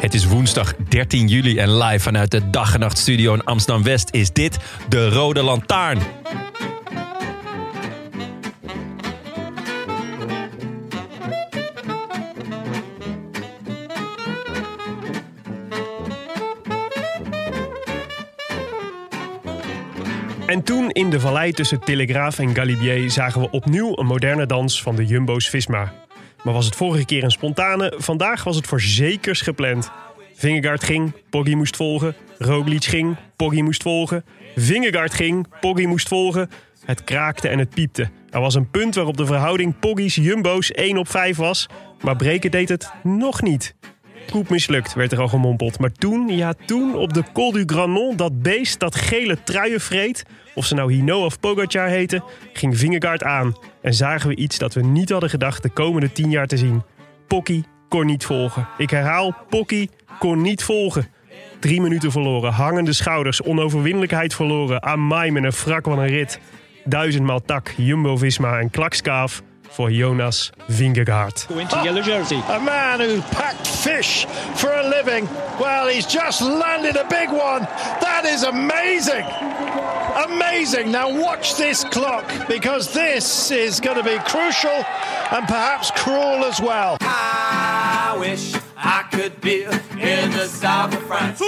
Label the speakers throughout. Speaker 1: Het is woensdag 13 juli en live vanuit de Dag en Nacht Studio in Amsterdam West is dit de Rode Lantaarn.
Speaker 2: En toen in de vallei tussen Telegraaf en Galibier zagen we opnieuw een moderne dans van de Jumbo's Visma. Maar was het vorige keer een spontane, vandaag was het voor zekers gepland. Vingegaard ging, Poggy moest volgen. Roglic ging, Poggy moest volgen. Vingegaard ging, Poggy moest volgen. Het kraakte en het piepte. Er was een punt waarop de verhouding Poggy's-Jumbo's 1 op 5 was. Maar Breken deed het nog niet. Koep mislukt, werd er al gemompeld. Maar toen, ja toen, op de Col du Granon, dat beest dat gele truien vreet... of ze nou Hino of Pogacar heten, ging Vingegaard aan. En zagen we iets dat we niet hadden gedacht de komende tien jaar te zien. Pocky kon niet volgen. Ik herhaal, Pocky kon niet volgen. Drie minuten verloren, hangende schouders, onoverwinnelijkheid verloren... Amai, met een wrak van een rit. Duizendmaal tak, Jumbo-Visma en klakskaaf voor Jonas Vingegaard.
Speaker 3: Go into yellow jersey.
Speaker 4: A man who packed fish for a living. Well, he's just landed a big one. That is amazing. Amazing. Now, watch this clock because this is going to be crucial and perhaps cruel as well.
Speaker 5: I wish I could be in the south of France.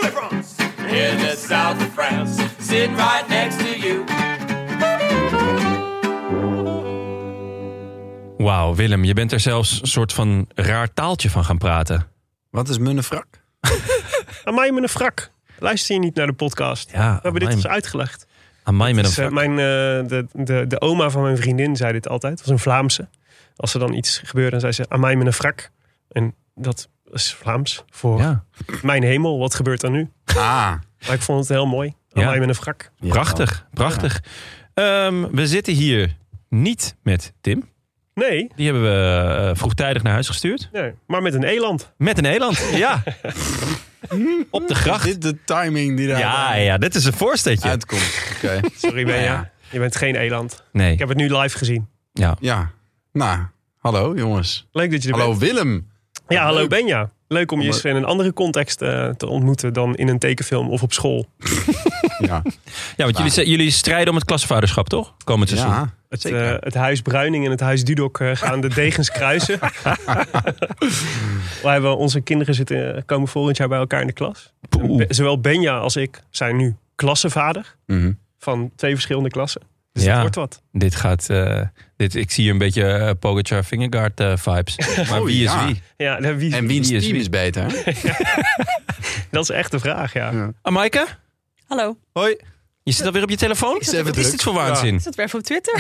Speaker 5: In the south of France. Sitting right next to you.
Speaker 1: Wauw, Willem, je bent er zelfs een soort van raar taaltje van gaan praten.
Speaker 6: Wat is munnefrak?
Speaker 2: Amai, met een wrak. Luister je niet naar de podcast?
Speaker 1: Ja,
Speaker 2: we hebben dit
Speaker 1: amai.
Speaker 2: eens uitgelegd.
Speaker 1: Amai met een
Speaker 2: Dus, eh,
Speaker 1: vak.
Speaker 2: mijn, eh, de, de, de oma van mijn vriendin zei dit altijd. Het was een Vlaamse. Als er dan iets gebeurde, dan zei ze aan mij met een wrak. En dat is Vlaams voor
Speaker 1: Ja,
Speaker 2: mijn hemel. Wat gebeurt er nu?
Speaker 6: Ah,
Speaker 2: Maar ik vond het heel mooi. Aan
Speaker 1: Ja.
Speaker 2: mij met een wrak.
Speaker 1: prachtig, prachtig. Ehm, we zitten hier niet met Tim.
Speaker 2: Nee,
Speaker 1: Die hebben we eh, vroegtijdig naar huis gestuurd.
Speaker 2: nee, maar met een eland.
Speaker 1: Met een eland, ja. Op de
Speaker 6: is
Speaker 1: gracht.
Speaker 6: dit de timing die daar
Speaker 1: Ja, ja, dit is een voorstetje.
Speaker 6: uitkomt? Oké.
Speaker 2: Sorry, ben
Speaker 6: Nou
Speaker 2: je?
Speaker 6: ja.
Speaker 2: Je bent geen eland.
Speaker 1: Nee,
Speaker 2: Ik heb het nu live gezien.
Speaker 1: ja.
Speaker 6: Ja. Nou, hallo jongens.
Speaker 2: Leuk dat je er
Speaker 6: Hallo
Speaker 2: bent.
Speaker 6: Willem.
Speaker 2: Ja, hallo
Speaker 6: Leuk. eh,
Speaker 2: Benja. Leuk om je eens in een andere context eh, te ontmoeten dan in een tekenfilm of op school.
Speaker 6: Ja.
Speaker 1: ja want jullie, jullie strijden om het klasvaderschap, toch? Komend seizoen.
Speaker 6: ja.
Speaker 2: Het,
Speaker 6: Zeker.
Speaker 2: eh, het huis Bruining en het huis Dudok eh, gaan de degens kruisen. We hebben onze kinderen zitten, eh, komen volgend jaar bij elkaar in de klas. En Be- Zowel Benja als ik zijn nu klassenvader
Speaker 6: Mhm.
Speaker 2: van twee verschillende klassen. Dus
Speaker 1: Ja.
Speaker 2: dat wordt wat.
Speaker 1: Dit gaat. eh, dit, ik zie een beetje eh, Pogacar Fingerguard eh, vibes. Maar
Speaker 6: Oh,
Speaker 1: wie is
Speaker 6: ja.
Speaker 1: wie?
Speaker 2: Ja, nou, wie,
Speaker 6: En wiens
Speaker 1: Wie is
Speaker 6: team
Speaker 1: wie?
Speaker 6: is beter?
Speaker 2: dat is echt de vraag, ja.
Speaker 6: Ja.
Speaker 1: Amaike?
Speaker 7: Hallo,
Speaker 1: Hoi. Je zit alweer op je telefoon?
Speaker 7: zat even
Speaker 1: Wat is
Speaker 6: druk.
Speaker 1: dit voor waanzin?
Speaker 7: ik zat weer even op Twitter.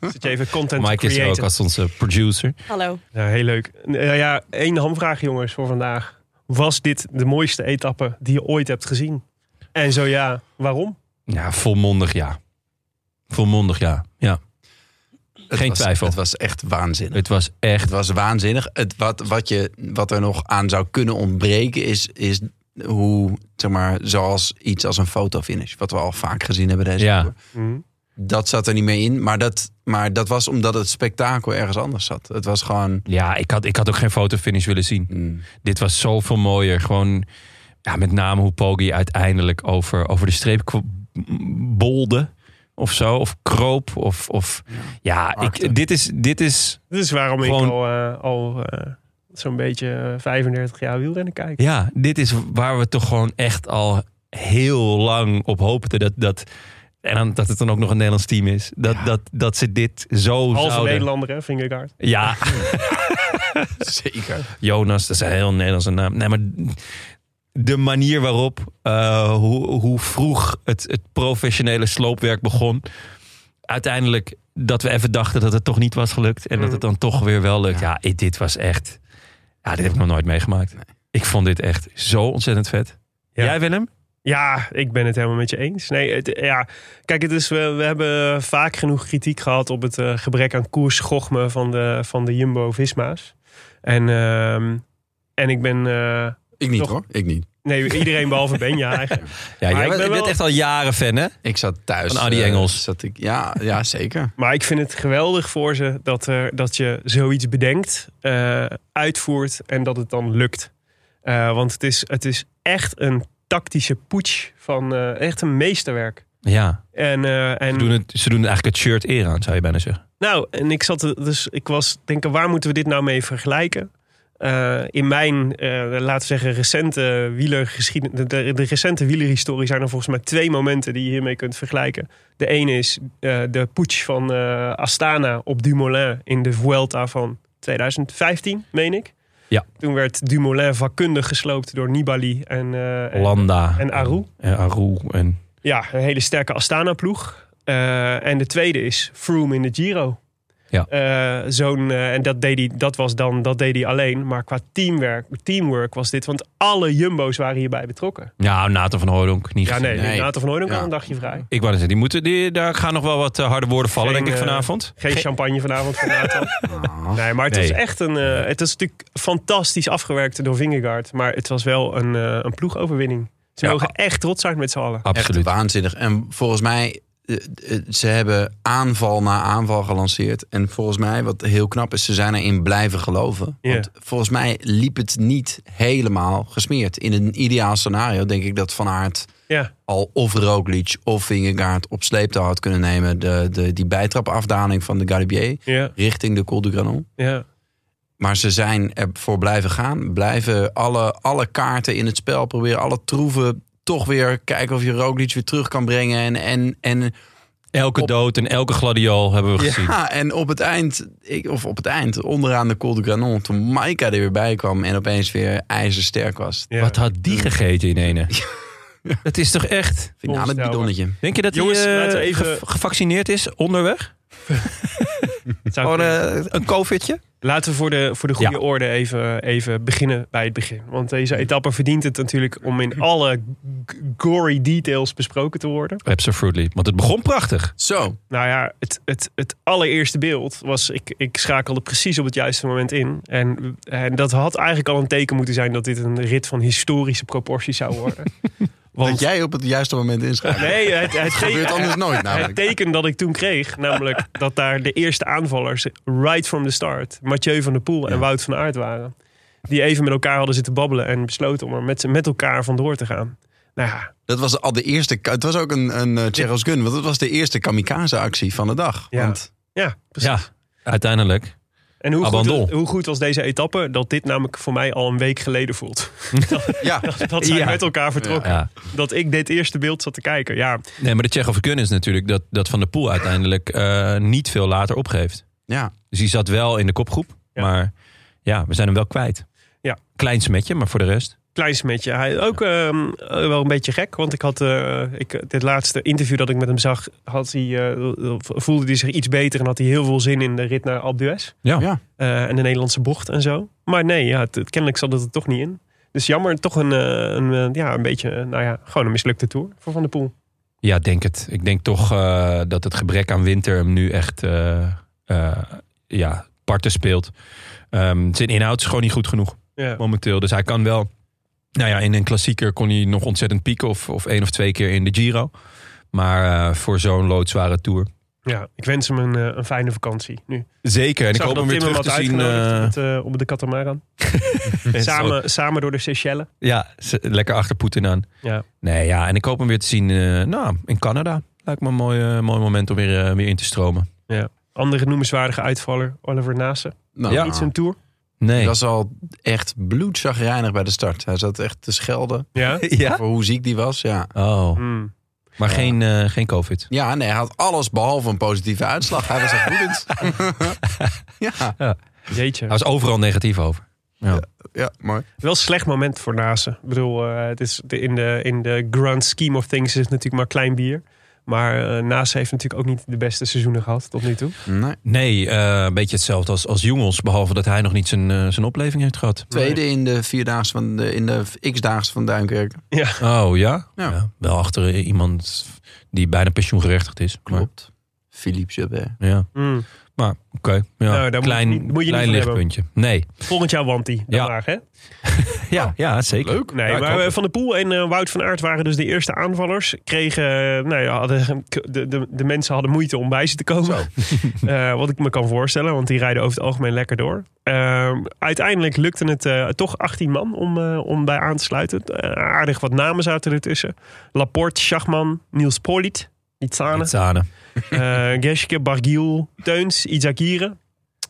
Speaker 2: Zit je even content te
Speaker 1: Mike is er ook
Speaker 2: creëren.
Speaker 1: als onze producer.
Speaker 7: Hallo.
Speaker 2: Ja, heel leuk. Eh, ja, één hamvraag jongens voor vandaag. Was dit de mooiste etappe die je ooit hebt gezien? En zo ja, waarom?
Speaker 1: Ja, volmondig ja. Volmondig ja. ja.
Speaker 6: Het
Speaker 1: Geen
Speaker 6: was-
Speaker 1: twijfel.
Speaker 6: Het was echt waanzinnig.
Speaker 1: Het was echt.
Speaker 6: Het was waanzinnig. Het, wat, wat, je, wat er nog aan zou kunnen ontbreken is, is hoe, zeg maar, zoals iets als een fotofinish. Wat we al vaak gezien hebben deze
Speaker 1: Ja.
Speaker 6: Tour. Dat zat er niet meer in. Maar dat, maar dat was omdat het spektakel ergens anders zat. Het was gewoon...
Speaker 1: Ja, ik had, ik had ook geen fotofinish willen zien.
Speaker 6: mm,
Speaker 1: Dit was zoveel mooier. Gewoon ja, met name hoe Poggi uiteindelijk over, over de streep kw- bolde. Of zo. Of kroop. Of, of ja,
Speaker 6: Arkte.
Speaker 1: ik, dit is. Dit is
Speaker 2: Dit is waarom
Speaker 1: Gewoon-
Speaker 2: ik al, eh, al eh, zo'n beetje eh, 35 jaar wielrennen kijken.
Speaker 1: Ja, dit is waar we toch gewoon echt al heel lang op hoopten. Dat, dat, en dan, dat het dan ook nog een Nederlands team is. Dat, dat, dat ze dit zo
Speaker 2: Halve
Speaker 1: zouden...
Speaker 2: Nederlander, hè, Vingegaard.
Speaker 1: Ja,
Speaker 6: Zeker.
Speaker 1: Jonas, dat is een heel Nederlandse naam. Nee, maar de manier waarop, eh, hoe, hoe vroeg het, het professionele sloopwerk begon. Uiteindelijk dat we even dachten dat het toch niet was gelukt. En dat het dan toch weer wel lukt. Ja, ik- dit was echt... Ja, dit heb ik nog nooit meegemaakt. Ik vond dit echt zo ontzettend vet.
Speaker 2: Ja.
Speaker 1: Jij Willem?
Speaker 2: Ja, ik ben het helemaal met je eens. Nee, het, ja. Kijk, het is, we, we hebben vaak genoeg kritiek gehad op het eh, gebrek aan koersgochme van de, van de Jumbo-Visma's. En, ehm, en ik ben... eh,
Speaker 6: Ik niet
Speaker 2: Toch?
Speaker 6: hoor. Ik niet.
Speaker 2: nee, iedereen behalve Benja eigenlijk.
Speaker 1: Ja, jij
Speaker 2: Maar ik
Speaker 1: bent,
Speaker 2: ben
Speaker 1: je bent
Speaker 2: wel-
Speaker 1: echt al jaren fan, hè?
Speaker 6: Ik zat thuis.
Speaker 1: Van Adi
Speaker 6: eh,
Speaker 1: Engels.
Speaker 6: zat ik, ja, ja, zeker.
Speaker 2: Maar ik vind het geweldig voor ze dat, er, dat je zoiets bedenkt, eh, uitvoert en dat het dan lukt. Eh, want het is, het is echt een tactische putsch van eh, echt een meesterwerk.
Speaker 1: Ja.
Speaker 2: En, eh, en
Speaker 1: Ze doen, het, ze doen eigenlijk het shirt eer aan, zou je bijna zeggen.
Speaker 2: Nou, en ik zat er- dus, ik was denken, waar moeten we dit nou mee vergelijken? Eh, in mijn, eh, laten we zeggen, recente wielergeschiedenis, de, de, de recente wielerhistorie zijn er volgens mij twee momenten die je hiermee kunt vergelijken. De ene is eh, de putsch van eh, Astana op Dumoulin in de Vuelta van 2015, meen ik.
Speaker 1: Ja.
Speaker 2: Toen werd Dumoulin vakkundig gesloopt door Nibali en, eh, en
Speaker 1: Landa.
Speaker 2: en Aru.
Speaker 1: En Aru. En,
Speaker 2: ja, een hele sterke Astana-ploeg. Eh, en de tweede is Froome in de Giro.
Speaker 1: Ja.
Speaker 2: Eh, zo'n, eh, en dat, deed hij, dat was dan, dat deed hij alleen. Maar qua teamwerk, teamwork was dit. Want alle Jumbo's waren hierbij betrokken.
Speaker 1: ja, Nathan van Hooydonk. Niet
Speaker 2: Ja, nee,
Speaker 6: Nee.
Speaker 2: Nathan van Hooydonk
Speaker 6: Ja.
Speaker 2: had een dagje vrij.
Speaker 1: Ik wou net zeggen, die moeten, die, daar gaan nog wel wat eh, harde woorden vallen,
Speaker 2: Geen,
Speaker 1: denk ik,
Speaker 2: eh,
Speaker 1: vanavond.
Speaker 2: Geen champagne vanavond van Nathan. nee, maar het
Speaker 1: Ah. Nee.
Speaker 2: was echt een... eh, het was natuurlijk fantastisch afgewerkt door Vingegaard. Maar het was wel een, eh, een ploegoverwinning. Ze
Speaker 1: Ja.
Speaker 2: mogen echt trots zijn met z'n allen.
Speaker 6: Echt
Speaker 1: Absoluut.
Speaker 6: waanzinnig. En volgens mij, eh, eh, ze hebben aanval na aanval gelanceerd. En volgens mij, wat heel knap is, ze zijn erin blijven geloven.
Speaker 2: Ja.
Speaker 6: Want volgens mij liep het niet helemaal gesmeerd. In een ideaal scenario denk ik dat Van Aert
Speaker 2: Ja.
Speaker 6: al of Roglic of Vingegaard op sleeptouw had kunnen nemen. De, de, die bijtrapafdaling van de Galibier
Speaker 2: Ja,
Speaker 6: richting de Col du Granon.
Speaker 2: ja.
Speaker 6: Maar ze zijn ervoor blijven gaan. Blijven alle, alle kaarten in het spel proberen. Alle troeven toch weer kijken of je Roglic weer terug kan brengen. En, en, en,
Speaker 1: Elke
Speaker 6: Op-
Speaker 1: dood en elke gladiool hebben we gezien.
Speaker 6: ja, en op het eind, ik, of op het eind, onderaan de Col de Granon... toen Maika er weer bij kwam en opeens weer ijzersterk was.
Speaker 2: ja.
Speaker 1: Wat had die gegeten in ene? Dat is toch echt...
Speaker 6: Finale
Speaker 2: Onvoorstelbaar.
Speaker 6: bidonnetje.
Speaker 1: Denk je dat
Speaker 2: Jongens,
Speaker 1: hij eh,
Speaker 2: laten we even-
Speaker 1: ge- gevaccineerd is onderweg?
Speaker 2: Het zou
Speaker 1: Gewoon
Speaker 2: kunnen.
Speaker 1: eh, een covidje?
Speaker 2: Laten we voor de, voor de goede
Speaker 1: Ja.
Speaker 2: orde even, even beginnen bij het begin. Want
Speaker 6: Mhm.
Speaker 2: deze etappe verdient het natuurlijk om in alle g- gory details besproken te worden.
Speaker 1: Absolutely. Want het begon prachtig.
Speaker 6: Zo,
Speaker 2: Nou ja, het, het, het allereerste beeld was... Ik, ik schakelde precies op het juiste moment in. En, en dat had eigenlijk al een teken moeten zijn... dat dit een rit van historische proporties zou worden.
Speaker 6: dat jij op het juiste moment inschakelt.
Speaker 2: Nee, het, het,
Speaker 6: Dat gebeurt
Speaker 2: teken-
Speaker 6: anders nooit
Speaker 2: het
Speaker 6: namelijk.
Speaker 2: teken dat ik toen kreeg... namelijk dat daar de eerste aanvallers... right from the start... Mathieu van der Poel en Wout van Aert waren. Die even met elkaar hadden zitten babbelen... en besloten om er met, z'n- met elkaar vandoor te gaan. Nou ja,
Speaker 6: Dat was al de eerste... Het was ook een, een eh, Charles Gun, want het was de eerste kamikaze-actie van de dag.
Speaker 2: Ja.
Speaker 6: Want
Speaker 2: ja precies.
Speaker 1: Ja, uiteindelijk.
Speaker 2: en hoe goed,
Speaker 1: abandon.
Speaker 2: hoe goed was deze etappe... dat dit namelijk voor mij al een week geleden voelt.
Speaker 6: ja,
Speaker 2: Dat zij
Speaker 1: Ja.
Speaker 2: met elkaar vertrokken.
Speaker 1: Ja.
Speaker 2: Dat ik dit eerste beeld zat te kijken. Ja,
Speaker 1: Nee, maar de Tsjechov kunnen is natuurlijk dat, dat Van der Poel uiteindelijk eh, niet veel later opgeeft.
Speaker 6: ja.
Speaker 1: Dus die zat wel in de kopgroep.
Speaker 2: Ja.
Speaker 1: Maar ja, we zijn hem wel kwijt.
Speaker 2: Ja.
Speaker 1: Klein smetje, maar voor de rest.
Speaker 2: klein smetje. Hij ook ehm, eh, wel een beetje gek, want ik had eh, ik, dit laatste interview dat ik met hem zag, had hij, eh, voelde hij zich iets beter en had hij heel veel zin in de rit naar Alpe d'Huez
Speaker 1: Ja.
Speaker 6: Ja.
Speaker 2: Eh, en de Nederlandse bocht en zo. Maar nee, ja, het- het- kennelijk zat het er toch niet in. Dus jammer, toch een, eh, een, eh, ja, een beetje, eh, nou ja, gewoon een mislukte tour voor Van der Poel.
Speaker 1: Ja, denk het. Ik denk toch eh, dat het gebrek aan winter hem nu echt eh, eh, ja, parten speelt. Ehm, zijn inhoud is gewoon niet goed genoeg
Speaker 2: Ja.
Speaker 1: momenteel. Dus hij kan wel... Nou ja, in een klassieker kon hij nog ontzettend pieken. Of, of één of twee keer in de Giro. Maar eh, voor zo'n loodzware tour...
Speaker 2: ja, ik wens hem een, eh, een fijne vakantie nu.
Speaker 1: Zeker. En ik
Speaker 2: zag
Speaker 1: hoop
Speaker 2: dat
Speaker 1: hem weer
Speaker 2: Tim
Speaker 1: terug te
Speaker 2: had
Speaker 1: zien. eh,
Speaker 2: uitgenodigd op, het, eh, op de Catamaran. samen, samen door de Seychelles.
Speaker 1: Ja, ze- lekker achter Poetin aan.
Speaker 2: Ja.
Speaker 1: Nee, ja, en ik hoop hem weer te zien eh, nou, in Canada. Lijkt me een mooi, eh, mooi moment om weer, eh, weer in te stromen.
Speaker 2: Andere noemenswaardige uitvaller, Oliver Nase.
Speaker 6: Nou,
Speaker 1: Ja.
Speaker 2: Niet zijn tour.
Speaker 1: Nee.
Speaker 6: Die was al echt bloedzagrijnig bij de start. Hij zat echt te schelden
Speaker 2: Ja?
Speaker 1: Ja?
Speaker 6: voor hoe ziek die was. Ja,
Speaker 1: Oh,
Speaker 2: Hmm.
Speaker 1: maar Geen, eh, geen COVID.
Speaker 6: ja nee, hij had alles behalve een positieve uitslag. Hij was echt woedend. ja,
Speaker 2: Jeetje.
Speaker 1: Hij was overal negatief over.
Speaker 6: ja, mooi.
Speaker 2: Wel een slecht moment voor Nase. Ik bedoel, eh, het is de, in, de, in de grand scheme of things is het natuurlijk maar klein bier. Maar eh Nase heeft natuurlijk ook niet de beste seizoenen gehad tot nu toe.
Speaker 6: Nee.
Speaker 1: Nee, eh, een beetje hetzelfde als, als jongens. Behalve dat hij nog niet zijn, eh, zijn opleving heeft gehad.
Speaker 6: Tweede in de vierdaagse van de, in de x-daagse van Duinkerk.
Speaker 1: Oh ja?
Speaker 6: Ja.
Speaker 1: Wel achter eh, iemand die bijna pensioengerechtigd is. Maar,
Speaker 6: Klopt. Philippe Jobert.
Speaker 1: ja.
Speaker 2: Mm.
Speaker 1: Maar oké. ja.
Speaker 2: Nou, daar
Speaker 1: klein
Speaker 2: moet je niet- moet je
Speaker 1: klein
Speaker 2: niet van
Speaker 1: lichtpuntje. Nee.
Speaker 2: Volgend jaar want hij.
Speaker 1: Ja.
Speaker 2: Ja. Maar, hè?
Speaker 1: Ja, ja zeker.
Speaker 6: Leuk.
Speaker 2: Nee,
Speaker 1: Ja, ik
Speaker 2: maar
Speaker 1: hoop
Speaker 2: eh,
Speaker 1: het.
Speaker 2: Van der Poel en eh, Wout van Aert waren dus de eerste aanvallers. Kregen, eh, nou ja, hadden, de, de, de mensen hadden moeite om bij ze te komen. Eh, wat ik me kan voorstellen, want die rijden over het algemeen lekker door. Eh, uiteindelijk lukte het eh, toch 18 man om, eh, om bij aan te sluiten. Eh, aardig wat namen zaten ertussen. Laporte, Schachman, Niels Polit, Nitsane,
Speaker 1: Itzane.
Speaker 2: eh Geschke, Bargiel, Teuns, Izagire.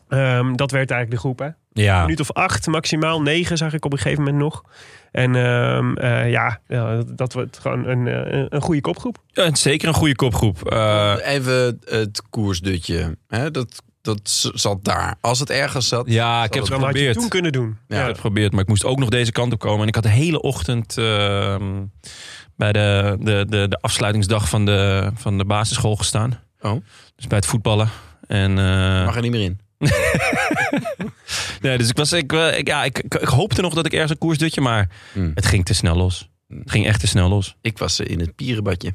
Speaker 2: Ehm, dat werd eigenlijk de groep, hè?
Speaker 1: Ja.
Speaker 2: Een minuut of acht, maximaal negen zag ik op een gegeven moment nog. En ehm, eh, ja, ja, dat wordt gewoon een, eh, een goede kopgroep.
Speaker 1: Ja, zeker een goede kopgroep. Eh,
Speaker 6: Even het koersdutje. Hè? Dat, dat z- zat daar. Als het ergens zat.
Speaker 1: ja, ik heb het
Speaker 2: Dan had je het
Speaker 1: geprobeerd.
Speaker 2: toen kunnen doen.
Speaker 1: Ja, ik heb het geprobeerd, maar ik moest ook nog deze kant op komen. En ik had de hele ochtend ehm, bij de, de, de, de afsluitingsdag van de, van de basisschool gestaan.
Speaker 6: Oh.
Speaker 1: Dus bij het voetballen. En, eh,
Speaker 6: Mag er niet meer in.
Speaker 1: nee, dus ik, was, ik, eh, ik, ja, ik, ik, ik hoopte nog dat ik ergens een koersdutje, maar
Speaker 6: Hmm.
Speaker 1: het ging te snel los. Het ging echt te snel los.
Speaker 6: Ik was eh, in het pierenbadje.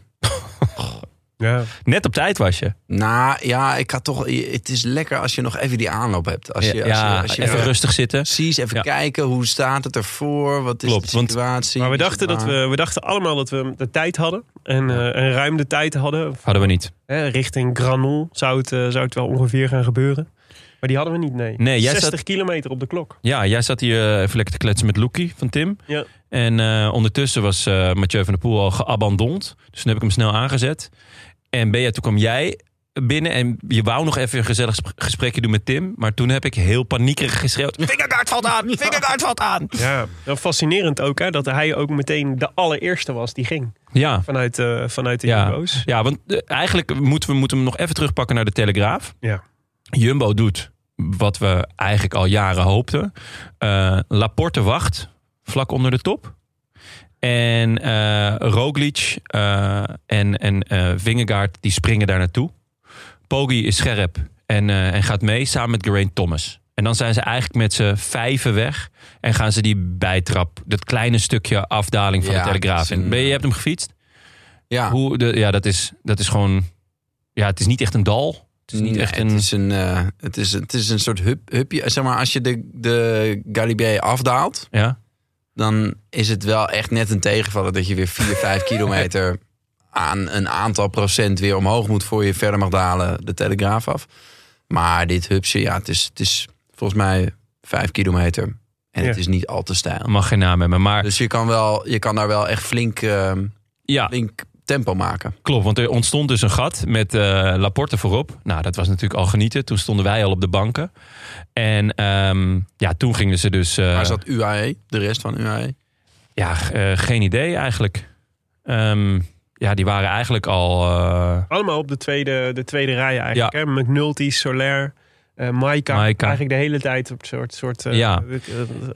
Speaker 2: Ja.
Speaker 1: Net op tijd was je.
Speaker 6: Nou ja, ik had toch. Het is lekker als je nog even die aanloop hebt. Als je, als je,
Speaker 1: ja,
Speaker 6: als je,
Speaker 1: even rustig zitten.
Speaker 6: precies even
Speaker 1: Ja.
Speaker 6: kijken hoe staat het ervoor. Wat is
Speaker 1: Klopt,
Speaker 6: de
Speaker 1: want-
Speaker 6: situatie?
Speaker 2: Maar we
Speaker 6: Is het
Speaker 2: dachten, dat
Speaker 6: waar?
Speaker 2: we, we dachten allemaal dat we de tijd hadden. En, eh, en ruim de tijd hadden.
Speaker 1: Hadden we niet.
Speaker 2: Hè, richting Granol zou het, eh, zou het wel ongeveer gaan gebeuren. Maar die hadden we niet, nee.
Speaker 1: Nee, jij
Speaker 2: 60
Speaker 1: zat-
Speaker 2: kilometer op de klok.
Speaker 1: Ja, jij zat hier eh, even lekker te kletsen met Loekie van Tim.
Speaker 2: Ja.
Speaker 1: En eh, ondertussen was eh, Mathieu van der Poel al geabandond. Dus toen heb ik hem snel aangezet. En Bea, toen kwam jij binnen en je wou nog even een gezellig sp- gesprekje doen met Tim. Maar toen heb ik heel paniekerig geschreeuwd. Vingergaard valt aan! Vingergaard valt aan!
Speaker 2: Ja. Wel fascinerend ook, hè, dat hij ook meteen de allereerste was die ging.
Speaker 1: Ja,
Speaker 2: Vanuit, eh, vanuit de
Speaker 1: Ja.
Speaker 2: Jumbo's.
Speaker 1: ja want eh, eigenlijk moeten we moeten we hem nog even terugpakken naar de Telegraaf.
Speaker 2: Ja.
Speaker 1: Jumbo doet wat we eigenlijk al jaren hoopten. Eh, Laporte wacht vlak onder de top. En eh Roglic eh, en, en eh Vingegaard die springen daar naartoe. Poggi is scherp en, eh, en gaat mee samen met Geraint Thomas. En dan zijn ze eigenlijk met z'n vijven weg. En gaan ze die bijtrap, dat kleine stukje afdaling van
Speaker 6: Ja,
Speaker 1: de Telegraaf
Speaker 6: dat is een-
Speaker 1: in. Ben je, je hebt hem gefietst?
Speaker 6: Ja,
Speaker 1: Hoe de, ja, dat is, dat is gewoon. Ja, het is niet echt een dal. Het is niet
Speaker 6: Nee,
Speaker 1: echt een.
Speaker 6: Mm, Het is een, eh, het is, het is een soort hup, hupje. Zeg maar, als je de, de Galibier afdaalt.
Speaker 1: ja.
Speaker 6: dan is het wel echt net een tegenvaller dat je weer 4, 5 kilometer aan een aantal procent weer omhoog moet voor je verder mag dalen de telegraaf af. Maar dit hupsje, ja, het is, het is volgens mij 5 kilometer en het
Speaker 2: Ja.
Speaker 6: is niet al te stijl.
Speaker 1: Mag geen naam hebben. Maar
Speaker 6: Dus je kan, wel, je kan daar wel echt flink, eh,
Speaker 1: ja,
Speaker 6: flink tempo maken.
Speaker 1: klopt. Want er ontstond dus een gat met eh, Laporte voorop. Nou, dat was natuurlijk al genieten. Toen stonden wij al op de banken. En ehm, ja, toen gingen ze dus. eh,
Speaker 6: Waar zat UAE, de rest van E. UAE?
Speaker 1: ja, g- eh, geen idee eigenlijk. Ehm, ja, die waren eigenlijk al. eh,
Speaker 2: Allemaal op de tweede, de tweede rij eigenlijk.
Speaker 1: Ja.
Speaker 2: Hè? McNulty, Soler, eh Maika.
Speaker 1: Maika.
Speaker 2: Eigenlijk de hele tijd op soort... soort eh,
Speaker 1: Ja.
Speaker 2: eh, eh,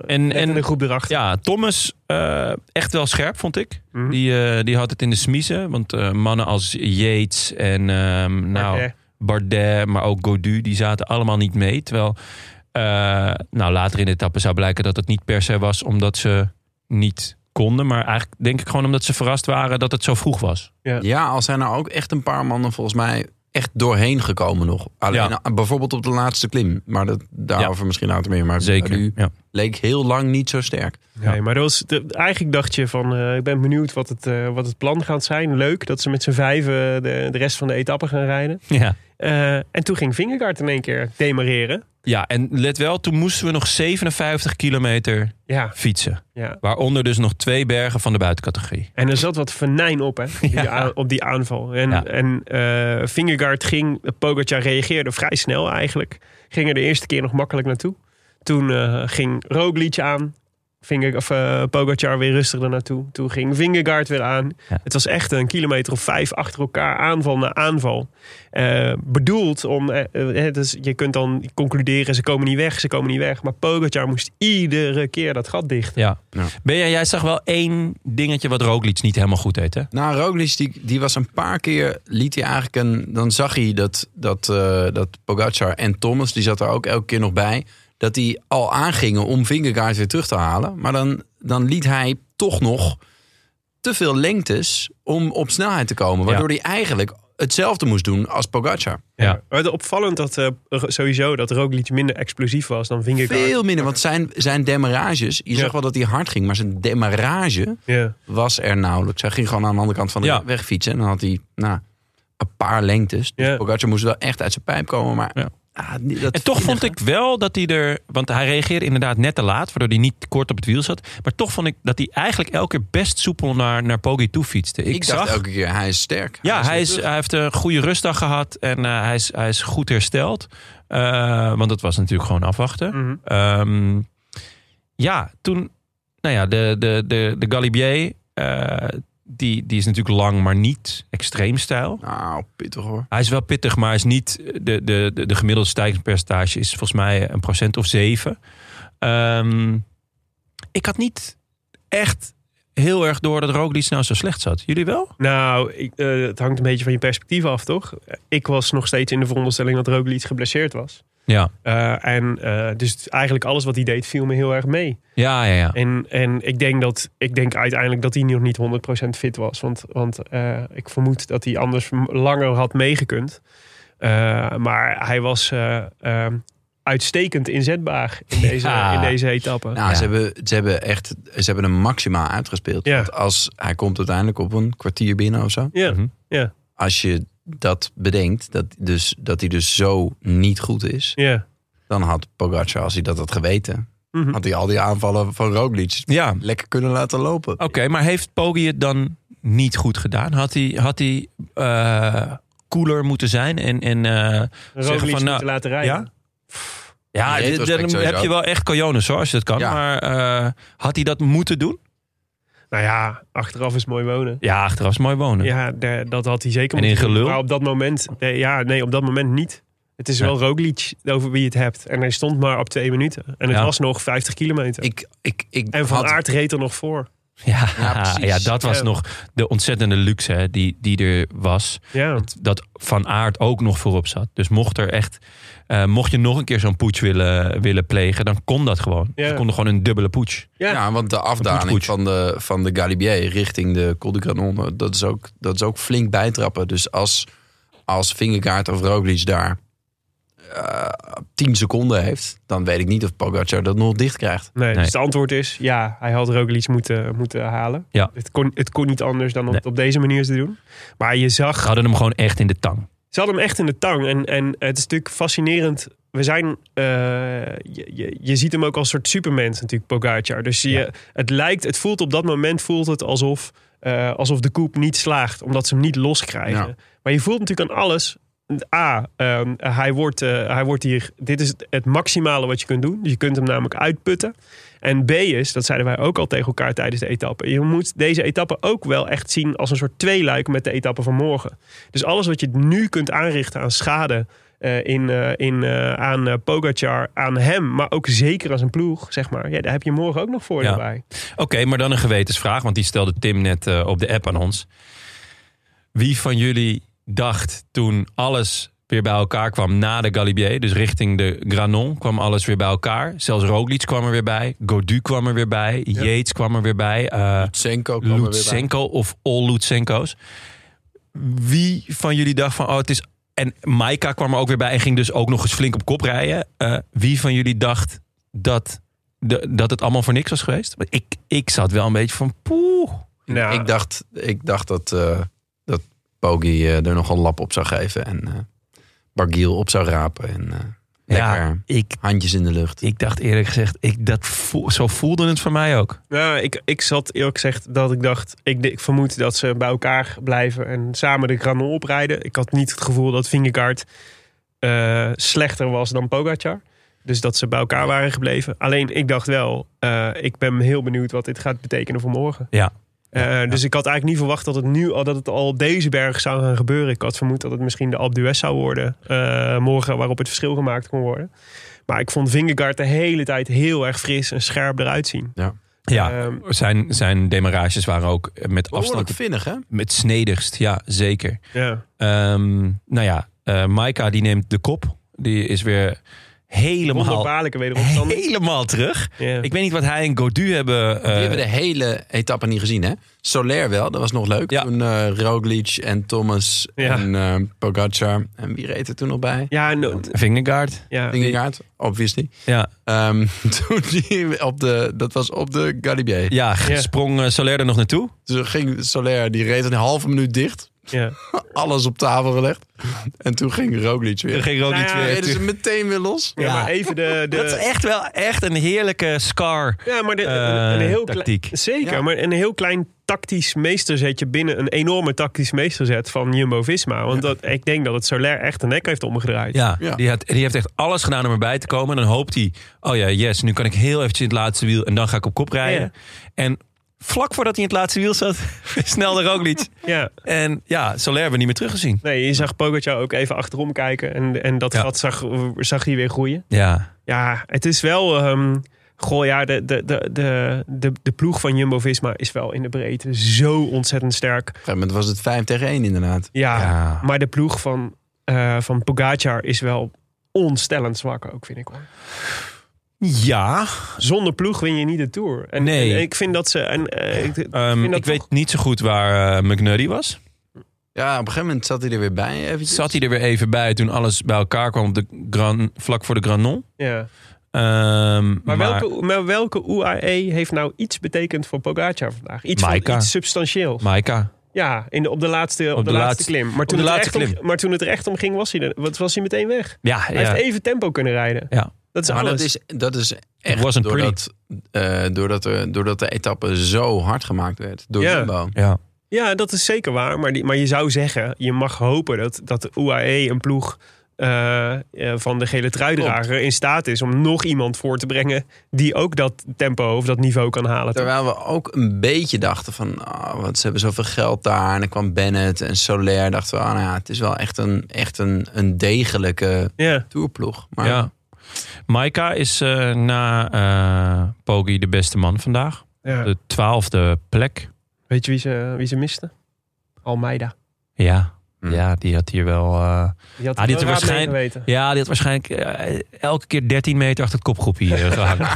Speaker 1: en,
Speaker 2: net in
Speaker 1: en
Speaker 2: de groep erachter.
Speaker 1: Ja, Thomas eh, echt wel scherp, vond ik.
Speaker 2: Mhm.
Speaker 1: Die, eh, die had het in de smiezen. Want eh, mannen als Yates en ehm, nou,
Speaker 2: Bardet.
Speaker 1: Bardet, maar ook Godu, die zaten allemaal niet mee. Terwijl eh, nou, later in de etappe zou blijken dat het niet per se was omdat ze niet konden. Maar eigenlijk denk ik gewoon omdat ze verrast waren dat het zo vroeg was.
Speaker 2: Ja.
Speaker 6: Ja, al zijn er ook echt een paar mannen volgens mij echt doorheen gekomen nog. Alleen
Speaker 1: Ja.
Speaker 6: eh, bijvoorbeeld op de laatste klim. Maar dat, daarover misschien later meer. Maar
Speaker 1: Zeker.
Speaker 6: nu-
Speaker 1: Ja.
Speaker 6: leek heel lang niet zo sterk.
Speaker 2: Nee, maar dat was, de- eigenlijk dacht je van... eh, ik ben benieuwd wat het, eh, wat het plan gaat zijn. Leuk dat ze met z'n vijven eh, de, de rest van de etappe gaan rijden.
Speaker 1: ja.
Speaker 2: Eh, en toen ging Vingegaard in één keer demareren.
Speaker 1: Ja, en let wel, toen moesten we nog 57 kilometer
Speaker 2: Ja,
Speaker 1: fietsen.
Speaker 2: ja.
Speaker 1: Waaronder dus nog twee bergen van de buitencategorie.
Speaker 2: En er zat wat venijn op, hè, op, die,
Speaker 1: Ja.
Speaker 2: aan- op die aanval. En,
Speaker 1: Ja.
Speaker 2: en eh Vingegaard ging, Pogacar reageerde vrij snel eigenlijk. Ging er de eerste keer nog makkelijk naartoe. Toen eh, ging Roglic aan. Vinger, of, eh, Pogacar weer rustig er naartoe. Toen ging Vingegaard weer aan.
Speaker 1: Ja.
Speaker 2: Het was echt een kilometer of vijf achter elkaar aanval na aanval. Eh, bedoeld om... eh, eh, het is- je kunt dan concluderen, ze komen niet weg, ze komen niet weg. Maar Pogacar moest iedere keer dat gat dicht.
Speaker 1: Ja.
Speaker 6: Ja.
Speaker 1: Benja, jij zag wel één dingetje wat Roglic niet helemaal goed deed, hè?
Speaker 6: Nou, Roglic, die, die was een paar keer, liet hij eigenlijk een... Dan zag hij dat, dat, eh, dat Pogacar en Thomas, die zat er ook elke keer nog bij... dat die al aangingen om Vingegaard weer terug te halen. Maar dan, dan liet hij toch nog te veel lengtes om op snelheid te komen. Waardoor hij eigenlijk hetzelfde moest doen als Pogacar.
Speaker 1: Ja.
Speaker 2: Maar het opvallend dat eh, sowieso dat Roglic minder explosief was dan Vingegaard.
Speaker 6: Veel minder, want zijn, zijn demarages... Je
Speaker 2: Ja.
Speaker 6: zag wel dat hij hard ging, maar zijn demarage
Speaker 2: Ja.
Speaker 6: was er nauwelijks. Hij ging gewoon aan de andere kant van de
Speaker 1: Ja.
Speaker 6: weg fietsen. En dan had hij nou, een paar lengtes. Dus
Speaker 2: Ja.
Speaker 6: Pogacar moest wel echt uit zijn pijp komen. Maar
Speaker 1: Ja.
Speaker 6: ah, niet dat
Speaker 1: En toch vond ik wel dat hij er. Want hij reageerde inderdaad net te laat, waardoor hij niet kort op het wiel zat. Maar toch vond ik dat hij eigenlijk elke keer best soepel naar, naar Poggi toe fietste. Ik,
Speaker 6: Ik
Speaker 1: zag.
Speaker 6: dacht elke keer, hij is sterk.
Speaker 1: ja, hij,
Speaker 6: weer
Speaker 1: is,
Speaker 6: terug.
Speaker 1: hij heeft een goede rustdag gehad en eh, hij, is, hij is goed hersteld. Eh, want dat was natuurlijk gewoon afwachten.
Speaker 2: Mhm.
Speaker 1: Ehm, ja, toen. Nou ja, de, de, de, de Galibier. eh, die, die is natuurlijk lang, maar niet extreem stijl.
Speaker 6: Nou, pittig hoor.
Speaker 1: Hij is wel pittig, maar hij is niet eh, de, de, de, de gemiddelde stijgingspercentage is volgens mij een procent of zeven. Ehm, ik had niet echt heel erg door dat Roglic nou zo slecht zat. Jullie wel?
Speaker 2: Nou, ik, eh, het hangt een beetje van je perspectief af, toch? Ik was nog steeds in de veronderstelling dat Roglic geblesseerd was.
Speaker 1: Ja.
Speaker 2: Eh, en eh, dus eigenlijk alles wat hij deed viel me heel erg mee.
Speaker 1: Ja, ja, ja.
Speaker 2: En, en ik, denk dat, ik denk uiteindelijk dat hij nog niet 100% fit was. Want, want eh, ik vermoed dat hij anders m- langer had meegekund. Eh, maar hij was eh, eh, uitstekend inzetbaar in deze,
Speaker 1: Ja.
Speaker 2: in deze etappe.
Speaker 6: Nou,
Speaker 1: Ja.
Speaker 6: ze, hebben, ze hebben echt ze hebben hem maximaal uitgespeeld.
Speaker 2: Ja.
Speaker 6: Want als hij komt uiteindelijk op een kwartier binnen of zo.
Speaker 2: ja.
Speaker 1: Mhm.
Speaker 6: Als je dat bedenkt, dat, dus, dat hij dus zo niet goed is.
Speaker 2: ja.
Speaker 6: Dan had Pogacar, als hij dat had geweten,
Speaker 2: Mhm.
Speaker 6: had hij al die aanvallen van Roglic
Speaker 1: Ja, oké.
Speaker 6: lekker kunnen laten lopen.
Speaker 1: maar heeft Poggi het dan niet goed gedaan? Had hij, had hij eh, cooler moeten zijn? En, en, eh,
Speaker 2: Roglic
Speaker 1: van,
Speaker 2: niet
Speaker 1: nou,
Speaker 2: te laten rijden.
Speaker 1: ja? ja,
Speaker 6: Nee,
Speaker 1: dit-
Speaker 6: dat
Speaker 1: dan
Speaker 6: respect
Speaker 1: heb
Speaker 6: sowieso.
Speaker 1: je wel echt cojones hoor, als je dat kan.
Speaker 6: Ja.
Speaker 1: Maar eh, had hij dat moeten doen?
Speaker 2: Nou ja, achteraf is mooi wonen.
Speaker 1: Ja, achteraf is mooi wonen.
Speaker 2: Ja, de- dat had hij zeker
Speaker 1: Hm. En in
Speaker 2: moeten doen.
Speaker 1: gelul?
Speaker 2: Maar op dat moment, nee, ja, nee, op dat moment niet. Het is
Speaker 1: Ja.
Speaker 2: wel Roglic over wie je het hebt. En hij stond maar op twee minuten. En het
Speaker 1: Ja.
Speaker 2: was nog 50 kilometer.
Speaker 6: Ik, ik, ik
Speaker 2: en Van
Speaker 6: had-
Speaker 2: Aert reed er nog voor.
Speaker 1: Ja,
Speaker 6: Ja,
Speaker 1: ja,
Speaker 6: precies.
Speaker 1: dat was
Speaker 2: Ja.
Speaker 1: nog de ontzettende luxe hè, die, die er was.
Speaker 2: Ja,
Speaker 1: Dat Van Aert ook nog voorop zat. Dus mocht er echt, eh, mocht je nog een keer zo'n poets willen, willen plegen, dan kon dat gewoon.
Speaker 2: Ja.
Speaker 1: Ze konden gewoon een dubbele poets.
Speaker 2: Ja.
Speaker 6: Ja, want de
Speaker 1: Goed,
Speaker 6: afdaling
Speaker 1: goed.
Speaker 6: van de, van de Galibier richting de Col du Granon, eh, dat is ook, dat is ook flink bijtrappen. Dus als, als Vingegaard of Roglic daar eh 10 seconden heeft, dan weet ik niet of Pogacar dat nog dicht krijgt.
Speaker 2: nee,
Speaker 1: Nee.
Speaker 2: Dus het antwoord is ja, hij had Roglic moeten, moeten halen.
Speaker 1: Ja.
Speaker 2: Het, kon, het kon niet anders dan om
Speaker 1: Nee.
Speaker 2: het op deze manier te doen. Maar je zag
Speaker 1: Ze hadden hem gewoon echt in de tang.
Speaker 2: Ze hadden hem echt in de tang. En, en het is natuurlijk fascinerend. We zijn, eh, je, je, je ziet hem ook als een soort supermens natuurlijk, Pogacar. Dus je,
Speaker 1: Ja.
Speaker 2: het lijkt, het voelt op dat moment voelt het alsof, eh, alsof de koep niet slaagt. Omdat ze hem niet loskrijgen.
Speaker 6: Ja.
Speaker 2: Maar je voelt natuurlijk aan alles. A, ehm, hij, wordt, eh, hij wordt hier, dit is het maximale wat je kunt doen. Dus je kunt hem namelijk uitputten. En B is, dat zeiden wij ook al tegen elkaar tijdens de etappe. Je moet deze etappe ook wel echt zien als een soort tweeluik met de etappe van morgen. Dus alles wat je nu kunt aanrichten aan schade eh, in, eh, in, eh, aan eh, Pogacar, aan hem, maar ook zeker als een ploeg, zeg maar. Ja, daar heb je morgen ook nog voordeel
Speaker 1: Ja.
Speaker 2: bij.
Speaker 1: Oké, maar dan een gewetensvraag, want die stelde Tim net eh, op de app aan ons. Wie van jullie dacht toen alles weer bij elkaar kwam na de Galibier, dus richting de Granon, kwam alles weer bij elkaar. Zelfs Roglic kwam er weer bij, Godu kwam er weer bij, Yates kwam er weer bij. eh,
Speaker 6: Senko kwam er weer bij.
Speaker 1: Lutsenko of all Lutsenko's. Wie van jullie dacht van, oh het is... En Maika kwam er ook weer bij en ging dus ook nog eens flink op kop rijden. Eh, wie van jullie dacht dat, de, dat het allemaal voor niks was geweest? Want Ik, ik zat wel een beetje van, poeh.
Speaker 2: Nou,
Speaker 6: Ik, dacht, ik dacht dat, eh dat Poggi eh, er nog een lap op zou geven en eh Bargiel op zou rapen. En eh, lekker
Speaker 1: Ja, ik,
Speaker 6: handjes in de lucht.
Speaker 1: ik dacht eerlijk gezegd, ik, dat voel- zo voelde het voor mij ook.
Speaker 2: nou, ik, ik zat eerlijk gezegd dat ik dacht, ik, ik vermoed dat ze bij elkaar blijven en samen de Granon oprijden. Ik had niet het gevoel dat Vingegaard eh, slechter was dan Pogacar. Dus dat ze bij elkaar waren gebleven. Alleen ik dacht wel, eh, ik ben heel benieuwd wat dit gaat betekenen voor morgen.
Speaker 1: Ja.
Speaker 2: Eh, Dus ik had eigenlijk niet verwacht dat het nu al, dat het al op deze berg zou gaan gebeuren. Ik had vermoed dat het misschien de Alpe d'Huez zou worden eh, morgen, waarop het verschil gemaakt kon worden. Maar ik vond Vingegaard de hele tijd heel erg fris en scherp eruit zien.
Speaker 1: Ja,
Speaker 2: Ehm,
Speaker 1: zijn, zijn demarages waren ook met
Speaker 6: Behoorlijk
Speaker 1: afstand
Speaker 6: vinnig, hè?
Speaker 1: met snedigst. Ja, zeker.
Speaker 2: ja.
Speaker 1: Ehm, nou ja, eh Maika die neemt de kop. Die is weer helemaal,
Speaker 2: Wonderbaarlijke wederopstand.
Speaker 1: helemaal terug.
Speaker 2: Ja.
Speaker 1: Ik weet niet wat hij en Godu hebben. eh,
Speaker 6: Die hebben de hele etappe niet gezien, hè? Soler wel, dat was nog leuk.
Speaker 1: Ja.
Speaker 6: Toen eh, Roglic en Thomas
Speaker 2: Ja.
Speaker 6: en eh, Pogacar. En wie reed er toen nog bij?
Speaker 2: ja, no-
Speaker 1: Vingegaard.
Speaker 2: ja.
Speaker 6: Vingegaard, obviously.
Speaker 1: Ja,
Speaker 6: Ehm, toen die op de, dat was op de Galibier.
Speaker 1: ja, g-
Speaker 2: Ja.
Speaker 1: sprong eh, Soler er nog naartoe.
Speaker 6: Toen ging Soler, die reed een halve minuut dicht.
Speaker 2: ja.
Speaker 6: Alles op tafel gelegd. En toen ging Roglic
Speaker 1: Er
Speaker 6: weer.
Speaker 1: ging ook
Speaker 2: Nou
Speaker 1: niet
Speaker 2: ja,
Speaker 1: weer.
Speaker 6: Reden ze meteen weer los.
Speaker 2: Ja, maar even de... de
Speaker 1: Dat is echt wel echt een heerlijke scar.
Speaker 2: ja, maar de,
Speaker 1: eh,
Speaker 2: een, een heel klein-
Speaker 1: tactiek.
Speaker 2: Zeker,
Speaker 6: Ja.
Speaker 2: maar een heel klein tactisch meesterzetje binnen een enorme tactisch meesterzet van Jumbo-Visma. Want dat, ik denk dat het Soler echt de nek heeft omgedraaid.
Speaker 1: Ja,
Speaker 6: Ja.
Speaker 1: Die, had, die heeft echt alles gedaan om erbij te komen. En dan hoopt hij, oh ja, yes, nu kan ik heel eventjes in het laatste wiel en dan ga ik op kop rijden. En vlak voordat hij in het laatste wiel zat, versnelde Roglic.
Speaker 2: Ja.
Speaker 1: En ja, Soler hebben we niet meer teruggezien.
Speaker 2: Nee, je zag Pogacar ook even achterom kijken en, en dat
Speaker 1: Ja.
Speaker 2: gat zag, zag hij weer groeien.
Speaker 1: Ja,
Speaker 2: Ja, het is wel... ehm goh, ja, de, de, de, de, de, de ploeg van Jumbo-Visma is wel in de breedte zo ontzettend sterk.
Speaker 6: Op een gegeven moment was het 5 tegen 1 inderdaad.
Speaker 2: Ja,
Speaker 1: Ja.
Speaker 2: maar de ploeg van, eh van Pogacar is wel ontstellend zwak ook, vind ik. Hoor.
Speaker 1: Ja,
Speaker 2: Zonder ploeg win je niet de Tour. En,
Speaker 1: Nee.
Speaker 2: en ik vind dat ze... En, eh, ik, ik
Speaker 1: ehm,
Speaker 2: vind
Speaker 1: ik
Speaker 2: dat toch-
Speaker 1: weet niet zo goed waar eh, McNuddy was.
Speaker 6: Ja, op een gegeven moment zat hij er weer bij eventjes.
Speaker 1: Zat hij er weer even bij toen alles bij elkaar kwam op de gran, vlak voor de Granon.
Speaker 2: Ja.
Speaker 1: Ehm,
Speaker 2: Maar, welke, maar welke UAE heeft nou iets betekend voor Pogacar vandaag? Iets, van,
Speaker 1: Maika.
Speaker 2: iets substantieels.
Speaker 1: Maika.
Speaker 2: Ja, in de, op de laatste, op de laatste klim. Maar toen,
Speaker 1: de
Speaker 2: het er
Speaker 1: laatste
Speaker 2: echt Om, maar toen het er echt om ging, was hij, er, wat, was hij meteen weg.
Speaker 1: Ja,
Speaker 2: Hij
Speaker 1: ja.
Speaker 2: heeft even tempo kunnen rijden.
Speaker 1: Ja.
Speaker 2: Dat is
Speaker 6: maar
Speaker 2: alles.
Speaker 6: dat is, dat is echt
Speaker 1: wasn't
Speaker 6: doordat, eh, doordat, er, doordat de etappe zo hard gemaakt werd door
Speaker 2: Ja.
Speaker 6: Jumbo.
Speaker 1: ja.
Speaker 2: Ja, dat is zeker waar. Maar, die, maar je zou zeggen, je mag hopen dat, dat de UAE een ploeg eh, eh, van de gele truidrager in staat is om nog iemand voor te brengen die ook dat tempo of dat niveau kan halen.
Speaker 6: Terwijl we ook een beetje dachten van, ah, want ze hebben zoveel geld daar. En dan kwam Bennett en Soler. Dachten we, ah, nou ja, het is wel echt een, echt een, een degelijke
Speaker 2: Ja,
Speaker 6: toerploeg. Maar
Speaker 1: ja. Maika is eh, na eh Poggi de beste man vandaag.
Speaker 2: ja.
Speaker 1: De twaalfde plek.
Speaker 2: Weet je wie ze, wie ze miste? Almeida.
Speaker 1: Ja.
Speaker 6: Hm.
Speaker 1: ja, die had hier wel... eh,
Speaker 2: Die had
Speaker 1: Ah,
Speaker 2: het
Speaker 1: die
Speaker 2: wel
Speaker 1: had
Speaker 2: raad
Speaker 1: waarschijn-
Speaker 2: mee geweten.
Speaker 1: ja, die had waarschijnlijk eh, elke keer 13 meter achter het kopgroep hier eh, gehangen.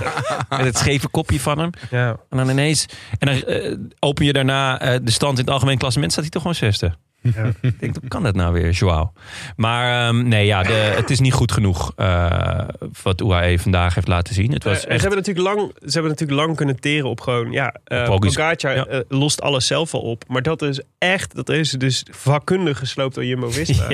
Speaker 1: Met het scheve kopje van hem.
Speaker 2: Ja.
Speaker 1: En dan ineens... En dan eh, open je daarna eh, de stand in het algemeen klassement... staat hij toch gewoon zesde.
Speaker 2: Ja.
Speaker 1: Ik denk, hoe kan dat nou weer, Joao? Maar ehm, nee, ja, de, het is niet goed genoeg eh, wat UAE vandaag heeft laten zien. Het was
Speaker 2: Eh,
Speaker 1: echt...
Speaker 2: ze, hebben natuurlijk lang, ze hebben natuurlijk lang kunnen teren op gewoon... Ja, eh
Speaker 1: Poggi's.
Speaker 2: Pogacar
Speaker 1: Ja.
Speaker 2: eh, lost alles zelf al op. Maar dat is echt... Dat is dus vakkundig gesloopt door Jumbo-Visma.